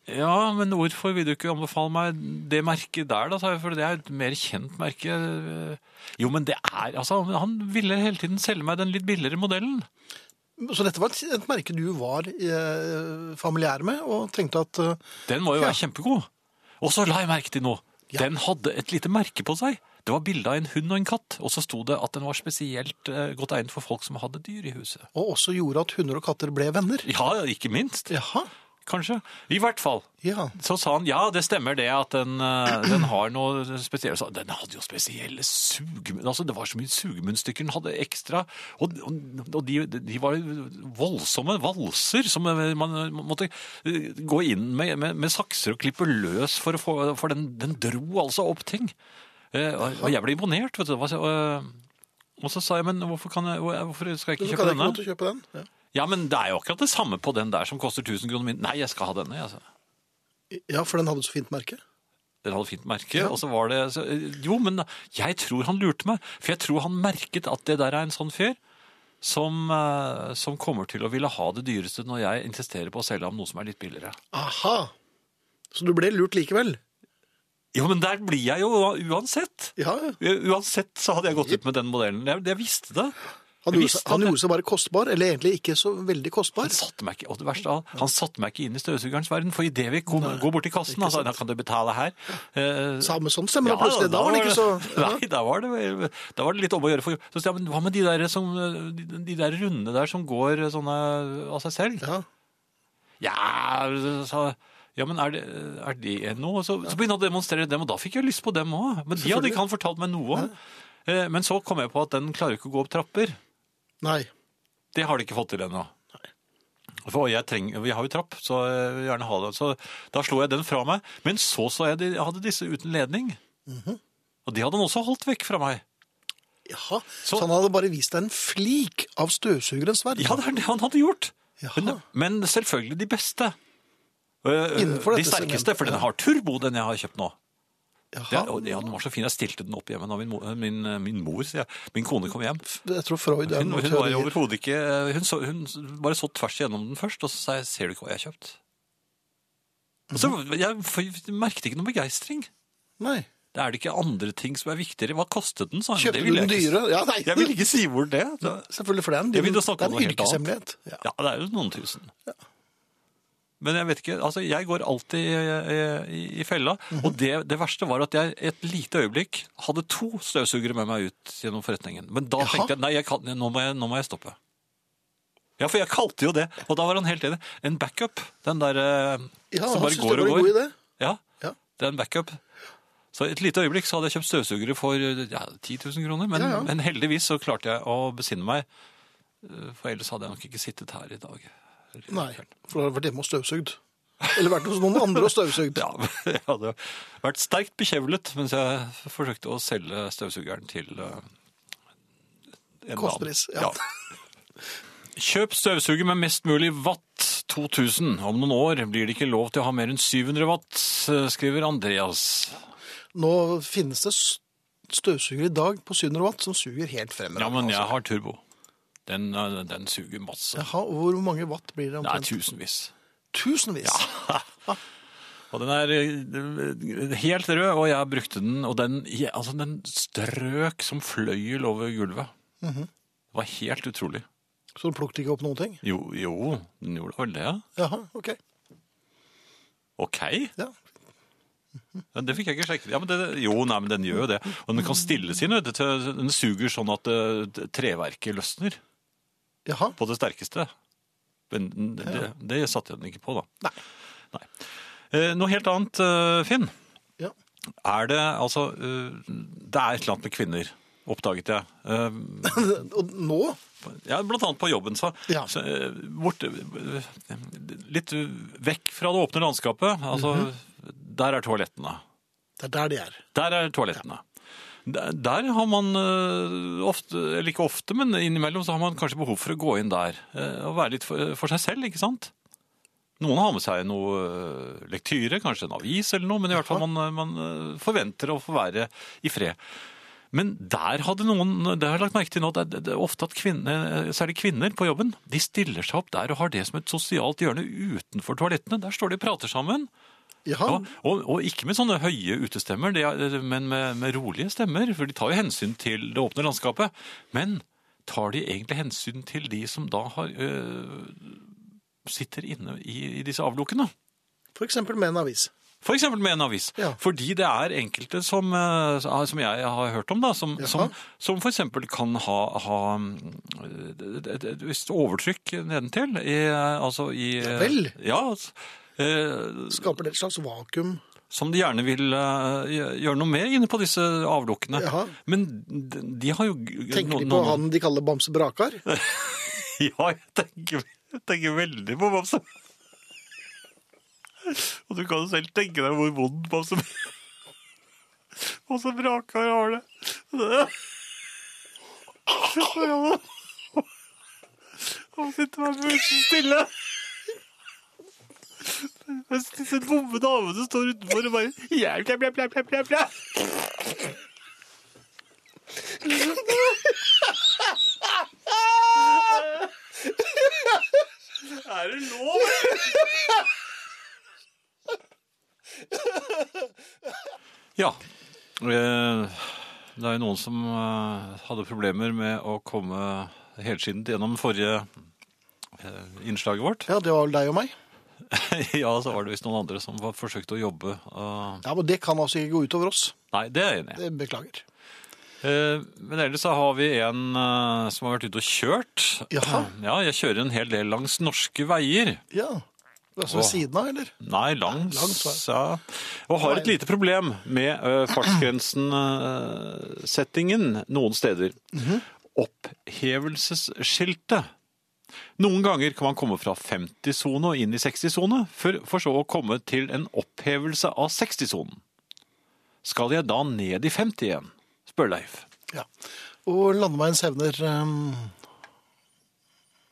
Ja, men hvorfor vil du ikke anbefale meg det merket der, da, sa jeg, for det er et mer kjent merke. Jo, men det er Altså, han ville hele tiden selge meg den litt billigere modellen. Så dette var et, et merke du var eh, familiær med, og tenkte at eh, Den må jo Ja. være kjempegod. Og så la jeg merke til noe. Den hadde et lite merke på seg. Det var bilde av en hund og en katt, og så sto det at den var spesielt eh, godt egnet for folk som hadde dyr i huset. Og også gjorde at hunder og katter ble venner. Ja, ikke minst. Jaha. Kanskje. I hvert fall. Ja. Så sa han ja, det stemmer det at den, eh, den har noe spesielt. Så Den hadde jo spesielle sugemunn... Altså, det var så mye sugemunnstykker den hadde ekstra. Og, og, og de, de var voldsomme valser som eh, man måtte eh, gå inn med, med, med sakser og klippe løs for å få For den, den dro altså opp ting. Eh, og, og jeg ble imponert, vet du. Det var så- Og, og så sa jeg, men hvorfor, kan jeg, hvorfor skal jeg Så ikke kan jeg kjøpe ikke denne? måtte kjøpe den. Ja. Ja, men det er jo akkurat det samme på den der som koster 1000 kroner min. Nei, jeg skal ha denne. Jeg, altså. sa. ja, for den hadde så fint merke. Dere hadde fint merke, og så var det så, Jo, men jeg tror han lurte meg. For jeg tror han merket at det der er en sånn fyr som, eh, som kommer til å ville ha det dyreste når jeg insisterer på å selge ham noe som er litt billigere. Aha. Så du ble lurt likevel? Jo, men der blir jeg jo uansett. Ja, ja. Uansett så hadde jeg gått ut med den modellen. Jeg, jeg visste det. Han Jeg gjorde, visste seg, han at jeg- gjorde seg bare kostbar, eller egentlig ikke så veldig kostbar. Han satte meg ikke, og det verste av, han satte meg ikke inn i støvsugerens verden, for idet vi kom, går bort til kassen, han sa «Nei, kan du betale her? Eh, Samme sånn stemmer, da plutselig. Da var det ikke så ja. Nei, da var det, da var det litt om å gjøre. For, så sier jeg, men hva med de der, som, de, de der rundene der som går sånne av seg selv? ja. Ja, sa ja, men er det, er det noe? Så, så begynte han å demonstrere dem, og da fikk jeg lyst på dem òg. Men de hadde ikke han fortalt meg noe om. Eh, Men så kom jeg på at den klarer ikke å gå opp trapper. Nei. Det har de ikke fått til ennå. For jeg, trenger, jeg har jo trapp, så jeg vil gjerne ha det. Så da slo jeg den fra meg. Men så så jeg de jeg hadde disse uten ledning. Mhm. Og de hadde han også holdt vekk fra meg. Jaha. Så- Så, han hadde bare vist deg en flik av støvsugerens verden. Ja, det er det han hadde gjort. Men, Jaha. men selvfølgelig de beste. Eh, Innenfor de dette sterkeste, segmentet, for den ja. har turbo, den jeg har kjøpt nå. Det, Jaha. er- og, ja, den var så fin. Jeg stilte den opp hjemme da min, mo- min, øh, min mor, sier jeg. Min kone kom hjem. Jeg tror Freud er Hun, noen hun var teorier. overhodet ikke eh, hun, så, hun bare så tvers igjennom den først, og så sa jeg 'ser du ikke hva jeg har kjøpt'? Og så, Mhm. jeg, for, jeg merket ikke noe begeistring. Nei. Det er det ikke andre ting som er viktigere. Hva kostet den? sa hun. Det Kjøpte du ville jeg den ikke- dyre? Ja, nei. Jeg vil ikke si hvor det det- Selvfølgelig, for det er en, Jeg begynte å det snakke er om en noe helt yrkeshemmelighet. Ja. Ja, det er jo noen tusen. Men jeg vet ikke, altså jeg går alltid eh, i, i fella, Mhm. og det, det verste var at jeg et lite øyeblikk hadde to støvsugere med meg ut gjennom forretningen. Men da Jaha. tenkte jeg, nei, jeg kan, nå, må jeg, nå må jeg stoppe. Ja, for jeg kalte jo det, og da var han helt enig. En backup, den der eh, Ja, som han bare syntes det går var og en god går. idé. Ja, Ja. det er en backup. Så et lite øyeblikk så hadde jeg kjøpt støvsugere for ja, 10 000 kroner, men, Ja, ja. men heldigvis så klarte jeg å besinne meg, eh, for ellers hadde jeg nok ikke sittet her i dag. Nei, for da har jeg vært hjemme og støvsugd. Eller vært hos noen andre og støvsugd. Ja, jeg hadde vært sterkt bekjevlet mens jeg forsøkte å selge støvsugeren til eh, en Kostpris, dame. ja. Kjøp støvsuger med mest mulig watt 2000. Om noen år blir det ikke lov til å ha mer enn 700 watt, eh, skriver Andreas. Nå finnes det s- støvsugere i dag på 700 watt som suger helt fremover. Ja, men jeg har turbo. Den, eh, den suger masse. Jaha, og hvor mange watt blir det Det omtrent? er tusenvis. Tusenvis. Og den er eh, helt rød, og jeg brukte den, og den, ja, altså den strøk som fløyel over gulvet. Det var helt utrolig. Så du plukket ikke opp noen ting? Jo, jo, den gjorde vel det. Jaha, ok. Ok, Ja. men det fikk jeg ikke sjekket. Ja, men det, jo, nei, men den gjør jo det. Og den kan stilles inn, vet du, til- den suger sånn at eh, treverket løsner Jaha. på det sterkeste. Men den- det, det satte jeg den ikke på da. Nei. Nei. Eh, Noe helt annet, eh, Finn. Ja. Er det, altså, eh, det er et eller annet med kvinner, oppdaget jeg. Eh, Og nå? Ja, blant annet på jobben, så. Ja. så eh, bort, eh, litt vekk fra det åpne landskapet. Altså, Mhm. der er toalettene. Det er der de er. Der er toalettene. Der, der har man eh, ofte, eller ikke ofte, men innimellom så har man kanskje behov for å gå inn der. eh, Og være litt for, for seg selv, ikke sant? Noen har med seg noe eh, lektyre, kanskje en avis eller noe, men i hvert fall man, man eh, forventer å få være i fred. Men der hadde noen, det har jeg lagt merke til nå, at det det er ofte at kvinner, særlig kvinner på jobben, de stiller seg opp der og har det som et sosialt hjørne utenfor toalettene. Der står de og prater sammen. Jaha. Ja, og, og ikke med sånne høye utestemmer, det er, men med, med rolige stemmer, for de tar jo hensyn til det åpne landskapet. Men tar de egentlig hensyn til de som da har, øh, sitter inne i, i disse avlukkene? For eksempel med en avis. For eksempel med en avis. Ja. Fordi det er enkelte som, eh, som jeg har hørt om, da, som, Jaha. som, som for eksempel kan ha, ha mm, et, et, et visst overtrykk nedentil. I, eh, altså i eh, vel. Ja, altså, eh, Skaper det et slags vakuum? som de gjerne vil eh, gjø- gjøre noe med inne på disse avlukkene. Jaha. Men de, de har jo g- Tenker de noen- på noen- han de kaller Bamse Brakar? Ja, jeg tenker, jeg tenker veldig på Bamse. Og du kan jo selv tenke deg hvor vond Bamse Bamse Brakar har det. det. Ja, nå- Han sitter bare plutselig stille. Mens disse dumme damene står utenfor og bare ja, bla, bla, bla, bla, bla, bla. Er det lov? ja. eh, Det er jo noen som eh, hadde problemer med å komme helskinnet gjennom forrige eh, innslaget vårt. Ja, det var vel deg og meg. ja, så var det visst noen andre som var- forsøkte å jobbe. eh, Ja, men det kan altså ikke gå ut over oss. Nei, det er jeg enig i. Det beklager. Eh, Men ellers så har vi en eh, som har vært ute og kjørt. Jaha. Ja, jeg kjører en hel del langs norske veier. Ja. Altså ved Åh. siden av, eller? Nei, langs. Langs, ja. Og har et lite problem med uh, fartsgrensen-settingen noen steder. Opphevelsesskiltet. Noen ganger kan man komme fra 50-sone og inn i 60-sone, for, for så å komme til en opphevelse av 60-sonen. Skal jeg da ned i 50 igjen? spør Leif. Ja. Og landeveiens hevner ehm,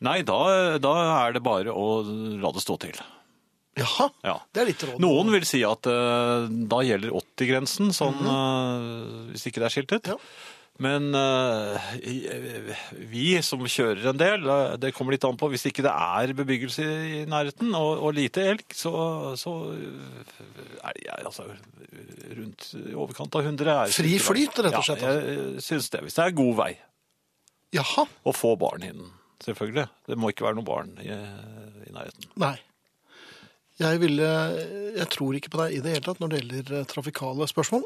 Nei, da, da er det bare å la det stå til. Jaha. Ja. Det er litt råd. Noen vil si at eh, da gjelder 80-grensen, sånn, eh, hvis ikke det er skiltet. Mhm. Ja. Men eh, i- eh, vi som kjører en del, eh, det kommer litt an på hvis ikke det er bebyggelse i nærheten og, og lite elg, så, så eh, er det altså, rundt i overkant av 100. Er Fri skiltet. flyt, rett og slett, altså. Ja, jeg eh, synes det. Hvis det er god vei. Jaha. Og få barn innen, selvfølgelig. Det må ikke være noen barn i, i nærheten. Nei. Jeg ville Jeg tror ikke på deg i det hele tatt når det gjelder eh, trafikale spørsmål.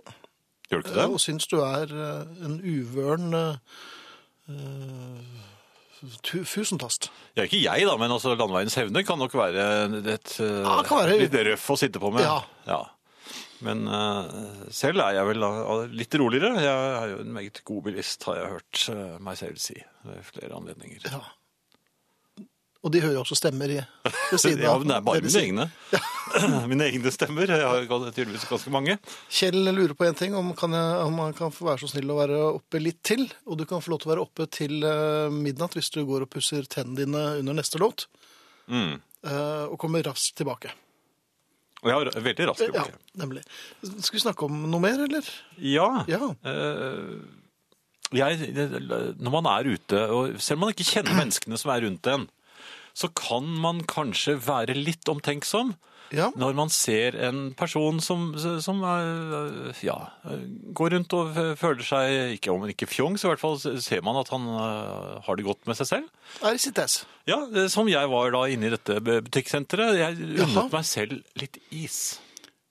Gjør du ikke det? Og syns du er eh, en uvøren eh, tu- fusentast. Ja, ikke jeg da, men altså landeveiens hevne kan nok være et eh, det kan være. litt røff å sitte på med. Ja. Ja. Men eh, selv er jeg vel eh, litt roligere. Jeg er jo en meget god bilist, har jeg hørt eh, meg selv si ved flere anledninger. Ja. Og de hører også stemmer i, ved siden Ja, av. men det er bare deres mine egne. mine egne stemmer. Jeg har jo tydeligvis ganske mange. Kjell lurer på en ting, om, kan jeg, om han kan få være så snill å være oppe litt til. Og du kan få lov til å være oppe til eh, midnatt hvis du går og pusser tennene dine under neste låt. Mm. eh, Og kommer raskt tilbake. Og jeg har veldig rask Ja, tilbake. nemlig. Skal vi snakke om noe mer, eller? Ja. Ja. Eh, jeg, det- når man er ute, og selv om man ikke kjenner menneskene som er rundt en, så kan man kanskje være litt omtenksom Ja. når man ser en person som, som er, ja, går rundt og føler seg, ikke, om ikke fjong, så i hvert fall ser man at han eh, har det godt med seg selv. Er i sitt ess. Ja, eh, som jeg var da inne i dette bu- butikksenteret. Jeg Jaha. unnet meg selv litt is.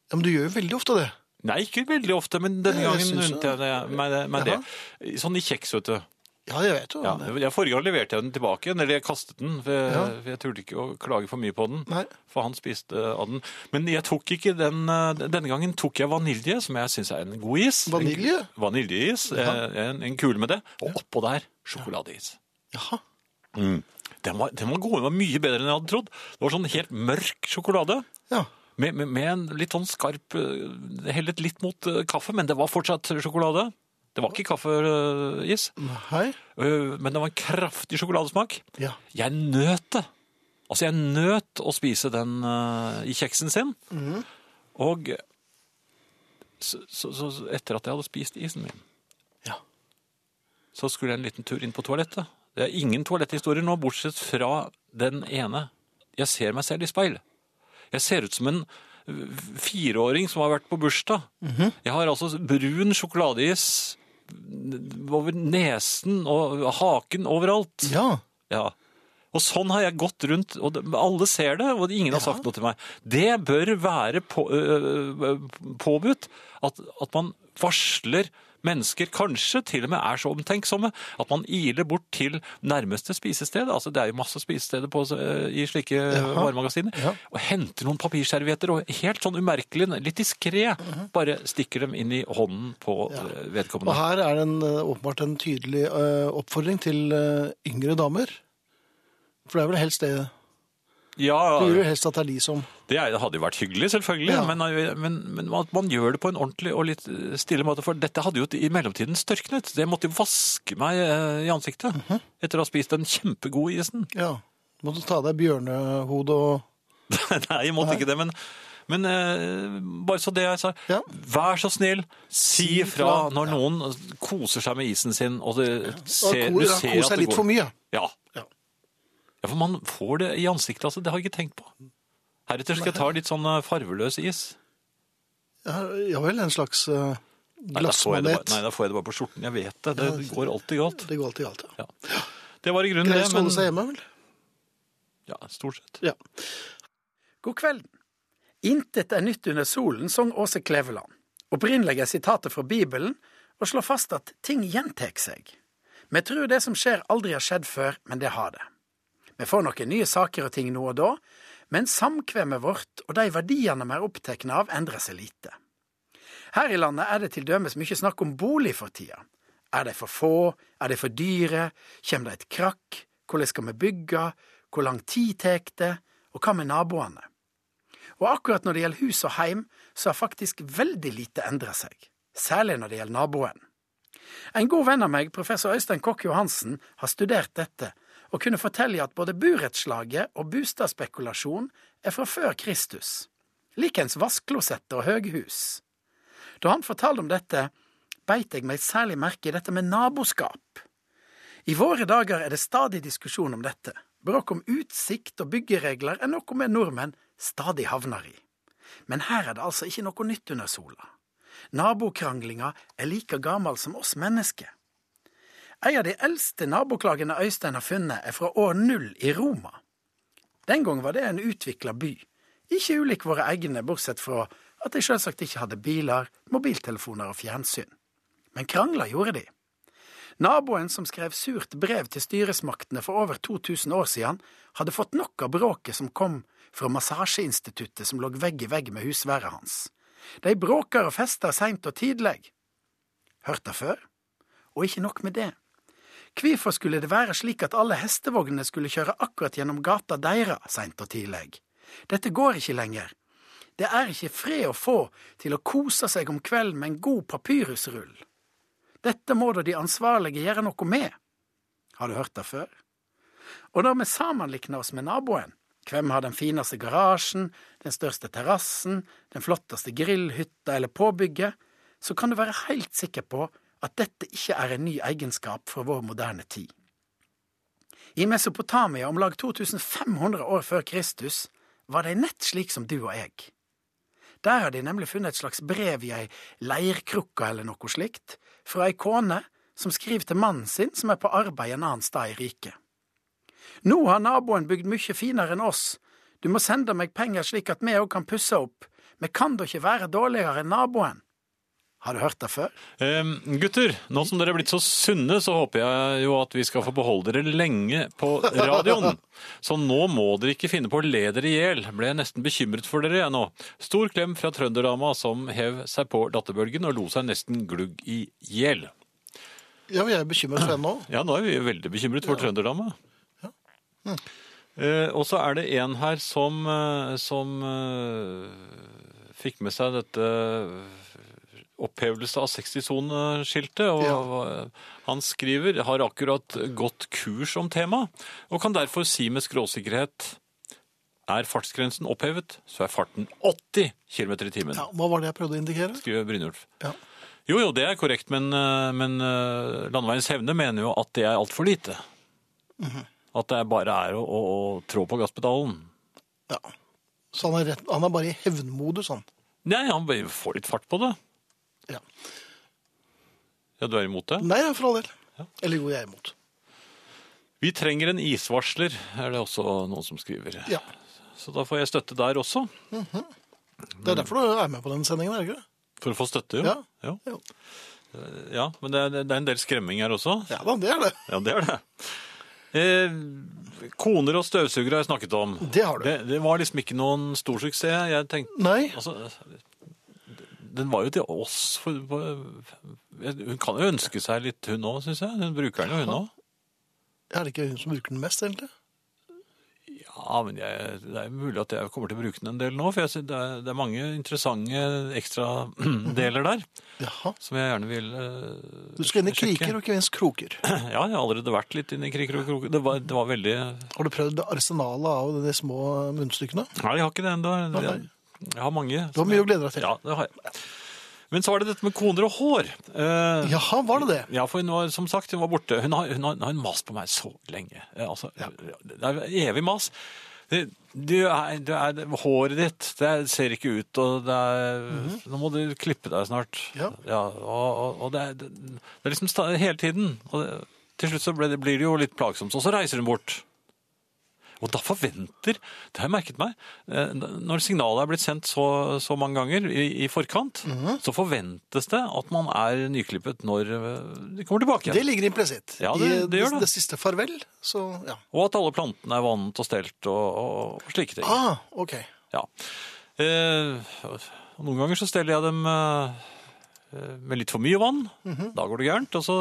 Ja, men du gjør jo veldig ofte det. Nei, ikke veldig ofte, men denne Jeg gangen synes unnet det. jeg det- meg det- meg det. Jaha. Sånn i kjeks, vet du. Ja, jeg vet jo Ja, det. jeg, forrige gang leverte jeg den tilbake igjen, eller jeg kastet den. For jeg, Ja. for jeg turte ikke å klage for mye på den, Nei. for han spiste eh, av den. Men jeg tok ikke den, eh, denne gangen tok jeg vanilje, som jeg synes er en god is. En- Vanilje? Vaniljeis, Ja. eh, en, en kule med det. Og oppå der, sjokoladeis. Jaha. Den var, den var god, den var mye bedre enn jeg hadde trodd. Det var sånn helt mørk sjokolade. Ja. Med, med, med en litt sånn skarp eh, Hellet litt mot eh, kaffe, men det var fortsatt sjokolade. Det var ikke kaffeis, Hei. eh, men det var en kraftig sjokoladesmak. Ja. Jeg nøt det. Altså, jeg nøt å spise den eh, i kjeksen sin. Og så, så, så etter at jeg hadde spist isen min, Ja. så skulle jeg en liten tur inn på toalettet. Det er ingen toaletthistorier nå, bortsett fra den ene. Jeg ser meg selv i speil. Jeg ser ut som en v- fireåring som har vært på bursdag. Jeg har altså brun sjokoladeis over nesen og haken overalt. ja. Ja. Og sånn har jeg gått rundt, og det- alle ser det, og ingen har sagt noe til meg. Det bør være på, øh, øh, påbudt at, at man varsler mennesker, kanskje til og med er så omtenksomme, at man iler bort til nærmeste spisested, altså det er jo masse spisesteder på, øh, i slike varemagasiner, Ja. og henter noen papirservietter, og helt sånn umerkelig, litt diskret, bare stikker dem inn i hånden på øh, Mhm. Og vedkommende. her er det en, eh, åpenbart en tydelig eh, oppfordring til eh, yngre damer. For det er vel helst det Ja, Du vil jo helst at det er de som Det er- hadde jo vært hyggelig, selvfølgelig, Ja. men, eh, men, men at man gjør det på en ordentlig og litt eh, stille måte. For dette hadde jo i mellomtiden størknet. Det måtte jo vaske meg eh, i ansiktet Mhm. etter å ha spist den kjempegode isen. Ja. Du måtte ta av deg bjørnehode og Nei, jeg måtte ikke det, men, men eh, bare så det jeg sa. Ja. Vær så snill, si Si fra. ifra når noen koser seg med isen sin, og det, ser, og du ko- ser kose at seg det litt for går. mye. Ja. Ja. ja, for man får det i ansiktet, altså. Det har jeg ikke tenkt på. Heretter skal jeg ta litt sånn eh, farveløs is. Ja, ja vel, en slags eh, Nei, da får jeg det glassmanet. bare- Nei, da får jeg det bare på skjorten. Jeg vet det. Det går alltid galt. Det går alltid galt, ja. Ja. Det var i grunnen det, Greit å holde seg men hjemme, vel? ja, stort sett. Ja. God kvelden. Intet er nytt under solen, sang Åse Kleveland. Opprinnelig er sitatet fra Bibelen og slår fast at ting gjentar seg. Vi tror det som skjer aldri har skjedd før, men det har det. Vi får noen nye saker og ting nå og da, men samkvemmet vårt og de verdiene vi er opptatt av, endrer seg lite. Her i landet er det til dømes mye snakk om bolig for tida. Er de for få, er de for dyre, kommer det et krakk, hvordan skal vi bygge, hvor lang tid tar det, og hva med naboene? Og akkurat når det gjelder hus og heim, så har faktisk veldig lite endra seg, særlig når det gjelder naboen. En god venn av meg, professor Øystein Kokk Johansen, har studert dette, og kunne fortelle at både burettslaget og bostadspekulasjon er fra før Kristus, likens vassklosetter og høghus. Da han fortalte om dette, beit jeg meg særlig merke i dette med naboskap. I våre dager er det stadig diskusjon om dette. Bråk om utsikt og byggeregler er noe vi nordmenn stadig havner i. Men her er det altså ikke noe nytt under sola. Nabokranglinga er like gammel som oss mennesker. En av de eldste naboklagene Øystein har funnet, er fra år null i Roma. Den gang var det en utvikla by, ikke ulik våre egne, bortsett fra at de selvsagt ikke hadde biler, mobiltelefoner og fjernsyn. Men krangler gjorde de. Naboen som skrev surt brev til styresmaktene for over 2000 år siden, hadde fått nok av bråket som kom fra massasjeinstituttet som lå vegg i vegg med husværet hans. De bråker og fester seint og tidleg. Hørt det før? Og ikke nok med det. Hvorfor skulle det være slik at alle hestevognene skulle kjøre akkurat gjennom gata deira seint og tidleg? Dette går ikke lenger. Det er ikke fred å få til å kose seg om kvelden med en god papyrusrull. Dette må da de ansvarlige gjøre noe med. Har du hørt det før? Og når vi sammenlikner oss med naboen, hvem har den fineste garasjen, den største terrassen, den flotteste grillhytta eller påbygget, så kan du være helt sikker på at dette ikke er en ny egenskap fra vår moderne tid. I Mesopotamia om lag 2500 år før Kristus var de nett slik som du og jeg. Der har de nemlig funnet et slags brev i ei leirkrukke eller noe slikt, fra ei kone som skriver til mannen sin som er på arbeid en annen sted i riket. Nå har naboen bygd mye finere enn oss, du må sende meg penger slik at vi òg kan pusse opp, vi kan da ikke være dårligere enn naboen. Har du hørt det før? Eh, gutter, nå som dere er blitt så sunne, så håper jeg jo at vi skal få beholde dere lenge på radioen. Så nå må dere ikke finne på å le dere i hjel. Ble jeg nesten bekymret for dere, jeg nå. Stor klem fra trønderdama som hev seg på latterbølgen og lo seg nesten glugg i hjel. Ja, vi er bekymret for henne nå. Ja, nå er vi veldig bekymret for trønderdama. Eh, og så er det en her som, eh, som eh, fikk med seg dette eh, opphevelse av 60-soneskiltet. Og Ja. han skriver har akkurat gått kurs om temaet, og kan derfor si med skråsikkerhet er fartsgrensen opphevet, så er farten 80 km i timen, Ja, hva var det jeg prøvde å indikere? skriver Brynjulf. Ja. Jo, jo, det er korrekt, men, eh, men eh, Landeveiens hevne mener jo at det er altfor lite. Mhm. At det bare er å, å, å trå på gasspedalen. Ja. Så han er, rett, han er bare i hevnmodus, han. Nei, han bare får litt fart på det. Ja. Ja, du er imot det? Nei, ja, for all del. Eller jo, jeg er imot. Vi trenger en isvarsler, er det også noen som skriver. Ja. Så da får jeg støtte der også. Det er derfor du er med på den sendingen, er det ikke det? For å få støtte, jo. Ja. Ja, Jo. ja men det er, det er en del skremming her også. Ja da, det er det. Ja, det er det. Eh, koner og støvsugere har jeg snakket om. Det har du. Det, det var liksom ikke noen stor suksess. Jeg tenkte, Nei. altså, den var jo til oss. For, hun kan jo ønske seg litt, hun òg, syns jeg. Hun bruker den jo, hun òg. Er det ikke hun som bruker den mest, egentlig? Ja, men jeg, det er mulig at jeg kommer til å bruke den en del nå, for jeg, sy- det, er, det er mange interessante ekstradeler der Jaha. som jeg gjerne vil eh, Du skal inn i sjekke. kriker og ikke minst kroker. Ja, jeg har allerede vært litt inne i kriker og kroker. Det var, det var veldig Nei, Har du prøvd arsenalet av de små munnstykkene? jeg har ikke det ennå. nei. Jeg, jeg har mange. Du har mye å glede deg til. Ja, det har jeg. Men så var det dette med koner og hår. Eh, Jaha, var det det? Ja, for hun var, som sagt, hun var borte. Hun har, hun har, hun har mast på meg så lenge. Eh, Altså, Det er evig mas. Det- Du er, du er, håret ditt det ser ikke ut, og det er, nå må du klippe deg snart. Ja. og og, og det, er, det, det er liksom sta- hele tiden. Og det, til slutt så ble det, blir det jo litt plagsomt, og så reiser hun bort. Og da forventer, det har jeg merket meg, eh, når signalet er blitt sendt så, så mange ganger i, i forkant, så forventes det at man er nyklippet når eh, de kommer tilbake igjen. Det ligger implisitt. Ja, det- I det gjør det. det siste farvel, så ja. Og at alle plantene er vannet og stelt og, og, og slike ting. Ah, ok. Ja. Eh, og noen ganger så steller jeg dem eh, med litt for mye vann. Mhm. Da går det gærent. Og så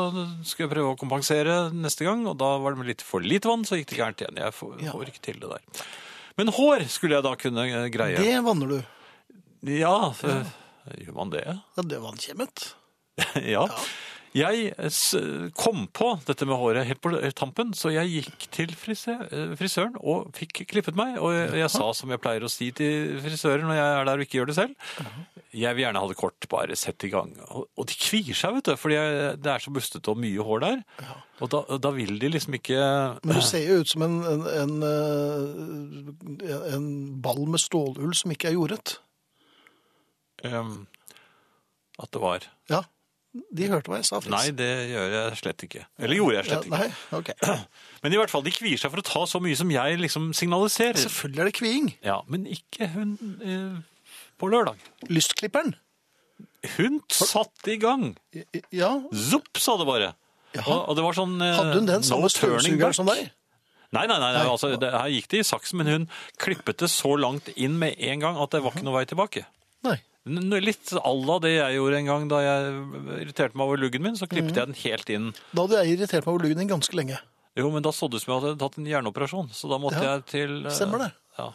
skal jeg prøve å kompensere neste gang, og da var det med litt for lite vann, så gikk det gærent igjen. Jeg får, Ja. får ikke til det der. Men hår skulle jeg da kunne eh, greie. Det vanner du. Ja, eh, gjør man det? Ja, det vannkjemmet. ja. Jeg eh, s- kom på dette med håret helt på eh, tampen, så jeg gikk til frise- eh, frisøren og fikk klippet meg. Og jeg, jeg sa som jeg pleier å si til frisøren når jeg er der og ikke gjør det selv, jeg vil gjerne ha det kort, bare sett i gang. Og, og de kvier seg, vet du, for det er så bustete og mye hår der. Og da, da vil de liksom ikke Men du ser jo ut som en, en, en, eh, en ball med stålull som ikke er jordet. ehm, at det var. Ja, de hørte hva jeg sa, Fritz. Nei, det gjør jeg slett ikke. Eller gjorde jeg slett ikke. Ja, nei, ok. Men i hvert fall, de kvier seg for å ta så mye som jeg liksom signaliserer. Selvfølgelig er det kviing. Ja, men ikke hun eh, på lørdag. Lystklipperen. Hun satte i gang. I- i- Ja, Zopp, sa det bare. Og, og det var sånn eh, hadde hun den samme no turning back. støvsugeren som deg? Nei, nei, nei, nei, altså, det, her gikk det i saksen, men hun klippet det så langt inn med en gang at det var ikke noe vei tilbake. Nei. N- Litt à la det jeg gjorde en gang da jeg irriterte meg over luggen min, så klippet Mm. jeg den helt inn. Da hadde jeg irritert meg over luggen din ganske lenge. Jo, men da så det ut som jeg hadde tatt en hjerneoperasjon, så da måtte Ja, jeg til eh, stemmer det. Ja.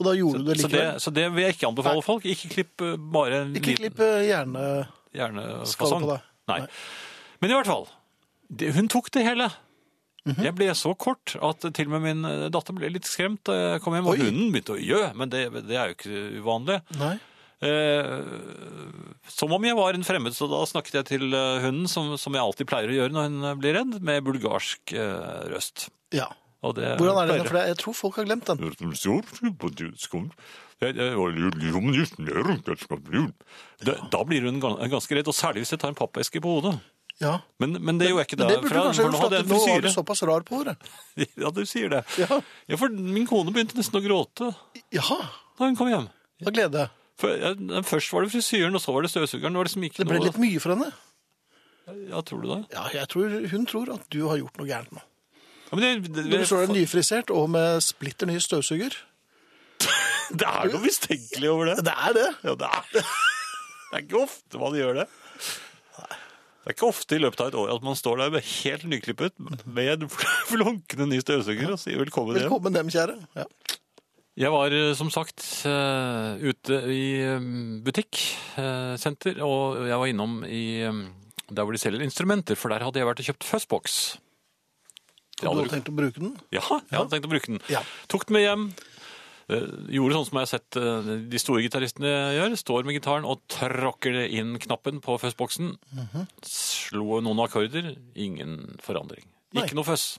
Og da gjorde du det Så, det, likevel. så det vil jeg ikke anbefale folk. Ikke klipp eh, bare en Ikke liten klipp eh, hjerne... Skade hjernefasong. på deg. sånn. Nei. Men i hvert fall, det, hun tok det hele. Mhm. Jeg ble så kort at til og med min eh, datter ble litt skremt da jeg kom hjem. Og Oi. hunden begynte å gjø, men det, det er jo ikke uvanlig. Nei. Eh, som om jeg var en fremmed, så da snakket jeg til eh, hunden, som, som jeg alltid pleier å gjøre når hun eh, blir redd, med bulgarsk eh, røst. Ja. Og det Hvordan er det? pleier- For jeg tror folk har glemt den. Da da blir hun gan- ganske redd, og særlig hvis jeg tar en pappeske på hodet. Ja. Men, men det gjorde jeg ikke Men da. det burde du for- kanskje for gjort, nå for hadde at jeg en nå var du frisyre. såpass rar på håret. Ja, du sier det. Ja. Ja, for min kone begynte nesten å gråte Jaha, da hun kom hjem. av glede. For, ja, først var det frisyren, og så var det støvsugeren. Det var liksom ikke Det ble noe litt mye for henne. Ja, tror du det? Ja, jeg tror, hun tror at du har gjort noe gærent nå. Ja, men det, det, Du det, står der nyfrisert og med splitter ny støvsuger. det er noe mistenkelig over det. Det er det. Ja, det er det. Det er ikke ofte man gjør det. Det er ikke ofte i løpet av et år at man står der med helt nyklippet med en flunkende ny støvsuger og sier velkommen hjem. Velkommen dem, kjære. Ja. Jeg var eh, som sagt eh, ute i eh, butikk, eh, senter, og jeg var innom i eh, der hvor de selger instrumenter, for der hadde jeg vært og kjøpt fuzzbox. Og du hadde tenkt å bruke den? Ja, jeg hadde tenkt å bruke den. Ja. Tok den med hjem. eh, Gjorde sånn som jeg har sett eh, de store gitaristene gjør. Står med gitaren og tråkker det inn knappen på fuzzboksen. Mhm. Slo noen akkorder. Ingen forandring. Nei. Ikke noe fuzz.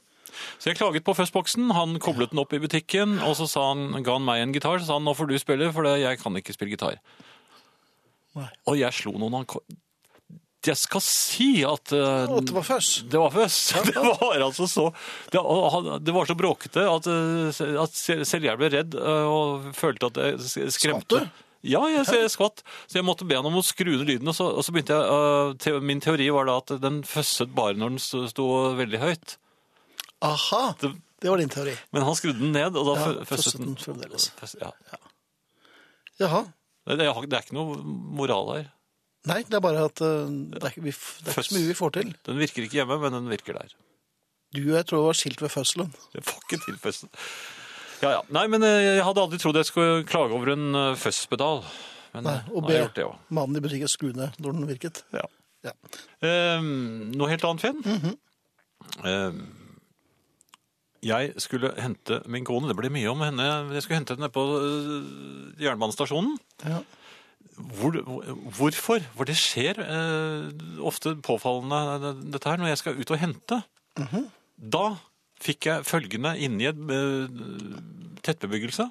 Så jeg klaget på fuzzboksen. Han koblet den opp i butikken, og så sa han, ga han meg en gitar. Så sa han nå får du spille, for det- jeg kan ikke spille gitar. Nei. Og jeg slo noen akkorder. Jeg skal si at eh, Å, det var føs. det var føss. Det var altså så Det, og han- det var så bråkete at, eh, at sel- selv jeg ble redd eh, og følte at jeg s- skremte. Skvatt du? Ja, jeg, jeg skvatt. Så jeg måtte be han om å skru ned lyden. Og så, og så begynte jeg eh, te, Min teori var da at den føsset bare når den sto sto veldig høyt. Aha, Det- det var din teori. Men han skrudde den ned, og da Ja, fø- føsset føsset den. den fremdeles. Føs- ja. Jaha. Det, det, er- det er ikke noe moral her. Nei, det er bare at eh, det er, ikke- vi, f- det er ikke så mye vi får til. Den virker ikke hjemme, men den virker der. Du og jeg tror var skilt ved fødselen. Jeg får ikke til fødselen. Ja, ja. Nei, men eh, jeg hadde aldri trodd jeg skulle klage over en eh, fødselspedal. Men Nei, eh, nå og har jeg gjort be det òg. mannen i butikken skru ned når den virket. Ja. Ja. Eh, noe helt annet, Finn. Eh, jeg skulle hente min kone, det ble mye om henne, jeg skulle hente henne på eh, jernbanestasjonen. Ja. Hvor, hvorfor? For det skjer eh, ofte påfallende eh, dette her når jeg skal ut og hente. Da fikk jeg følgende inni et eh, tettbebyggelse.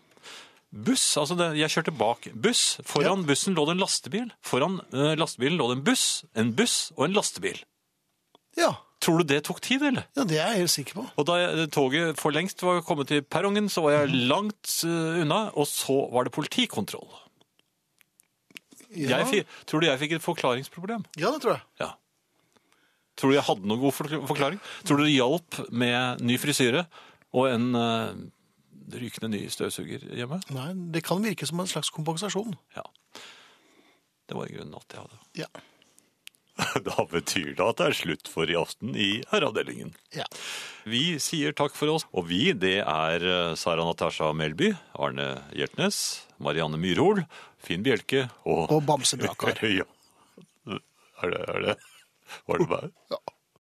Buss, altså det, jeg kjørte bak buss. Foran bussen lå det en lastebil. Foran eh, lastebilen lå det en buss, en buss og en lastebil. ja. Tror du det tok tid, eller? Ja, det er jeg helt sikker på. Og da jeg- toget for lengst var kommet til perrongen, så var jeg langt eh, unna, og så var det politikontroll. Ja, Jeg fi- tror du jeg fikk et forklaringsproblem? ja det tror jeg. Ja. Tror du jeg hadde noen god forkl- forklaring? Tror du det hjalp med ny frisyre og en eh, rykende ny støvsuger hjemme? Nei, det kan virke som en slags kompensasjon. Ja. Det var i grunnen alt jeg hadde. Ja. Da betyr det at det er slutt for i aften i herreavdelingen. ja. Vi sier takk for oss, og vi det er eh, Sara Natasha Melby, Arne Hjertnes, Marianne Myrhol, Finn Bjelke og Og Bamse Brakar. ja. Er det, er det? Var det bare? Ja.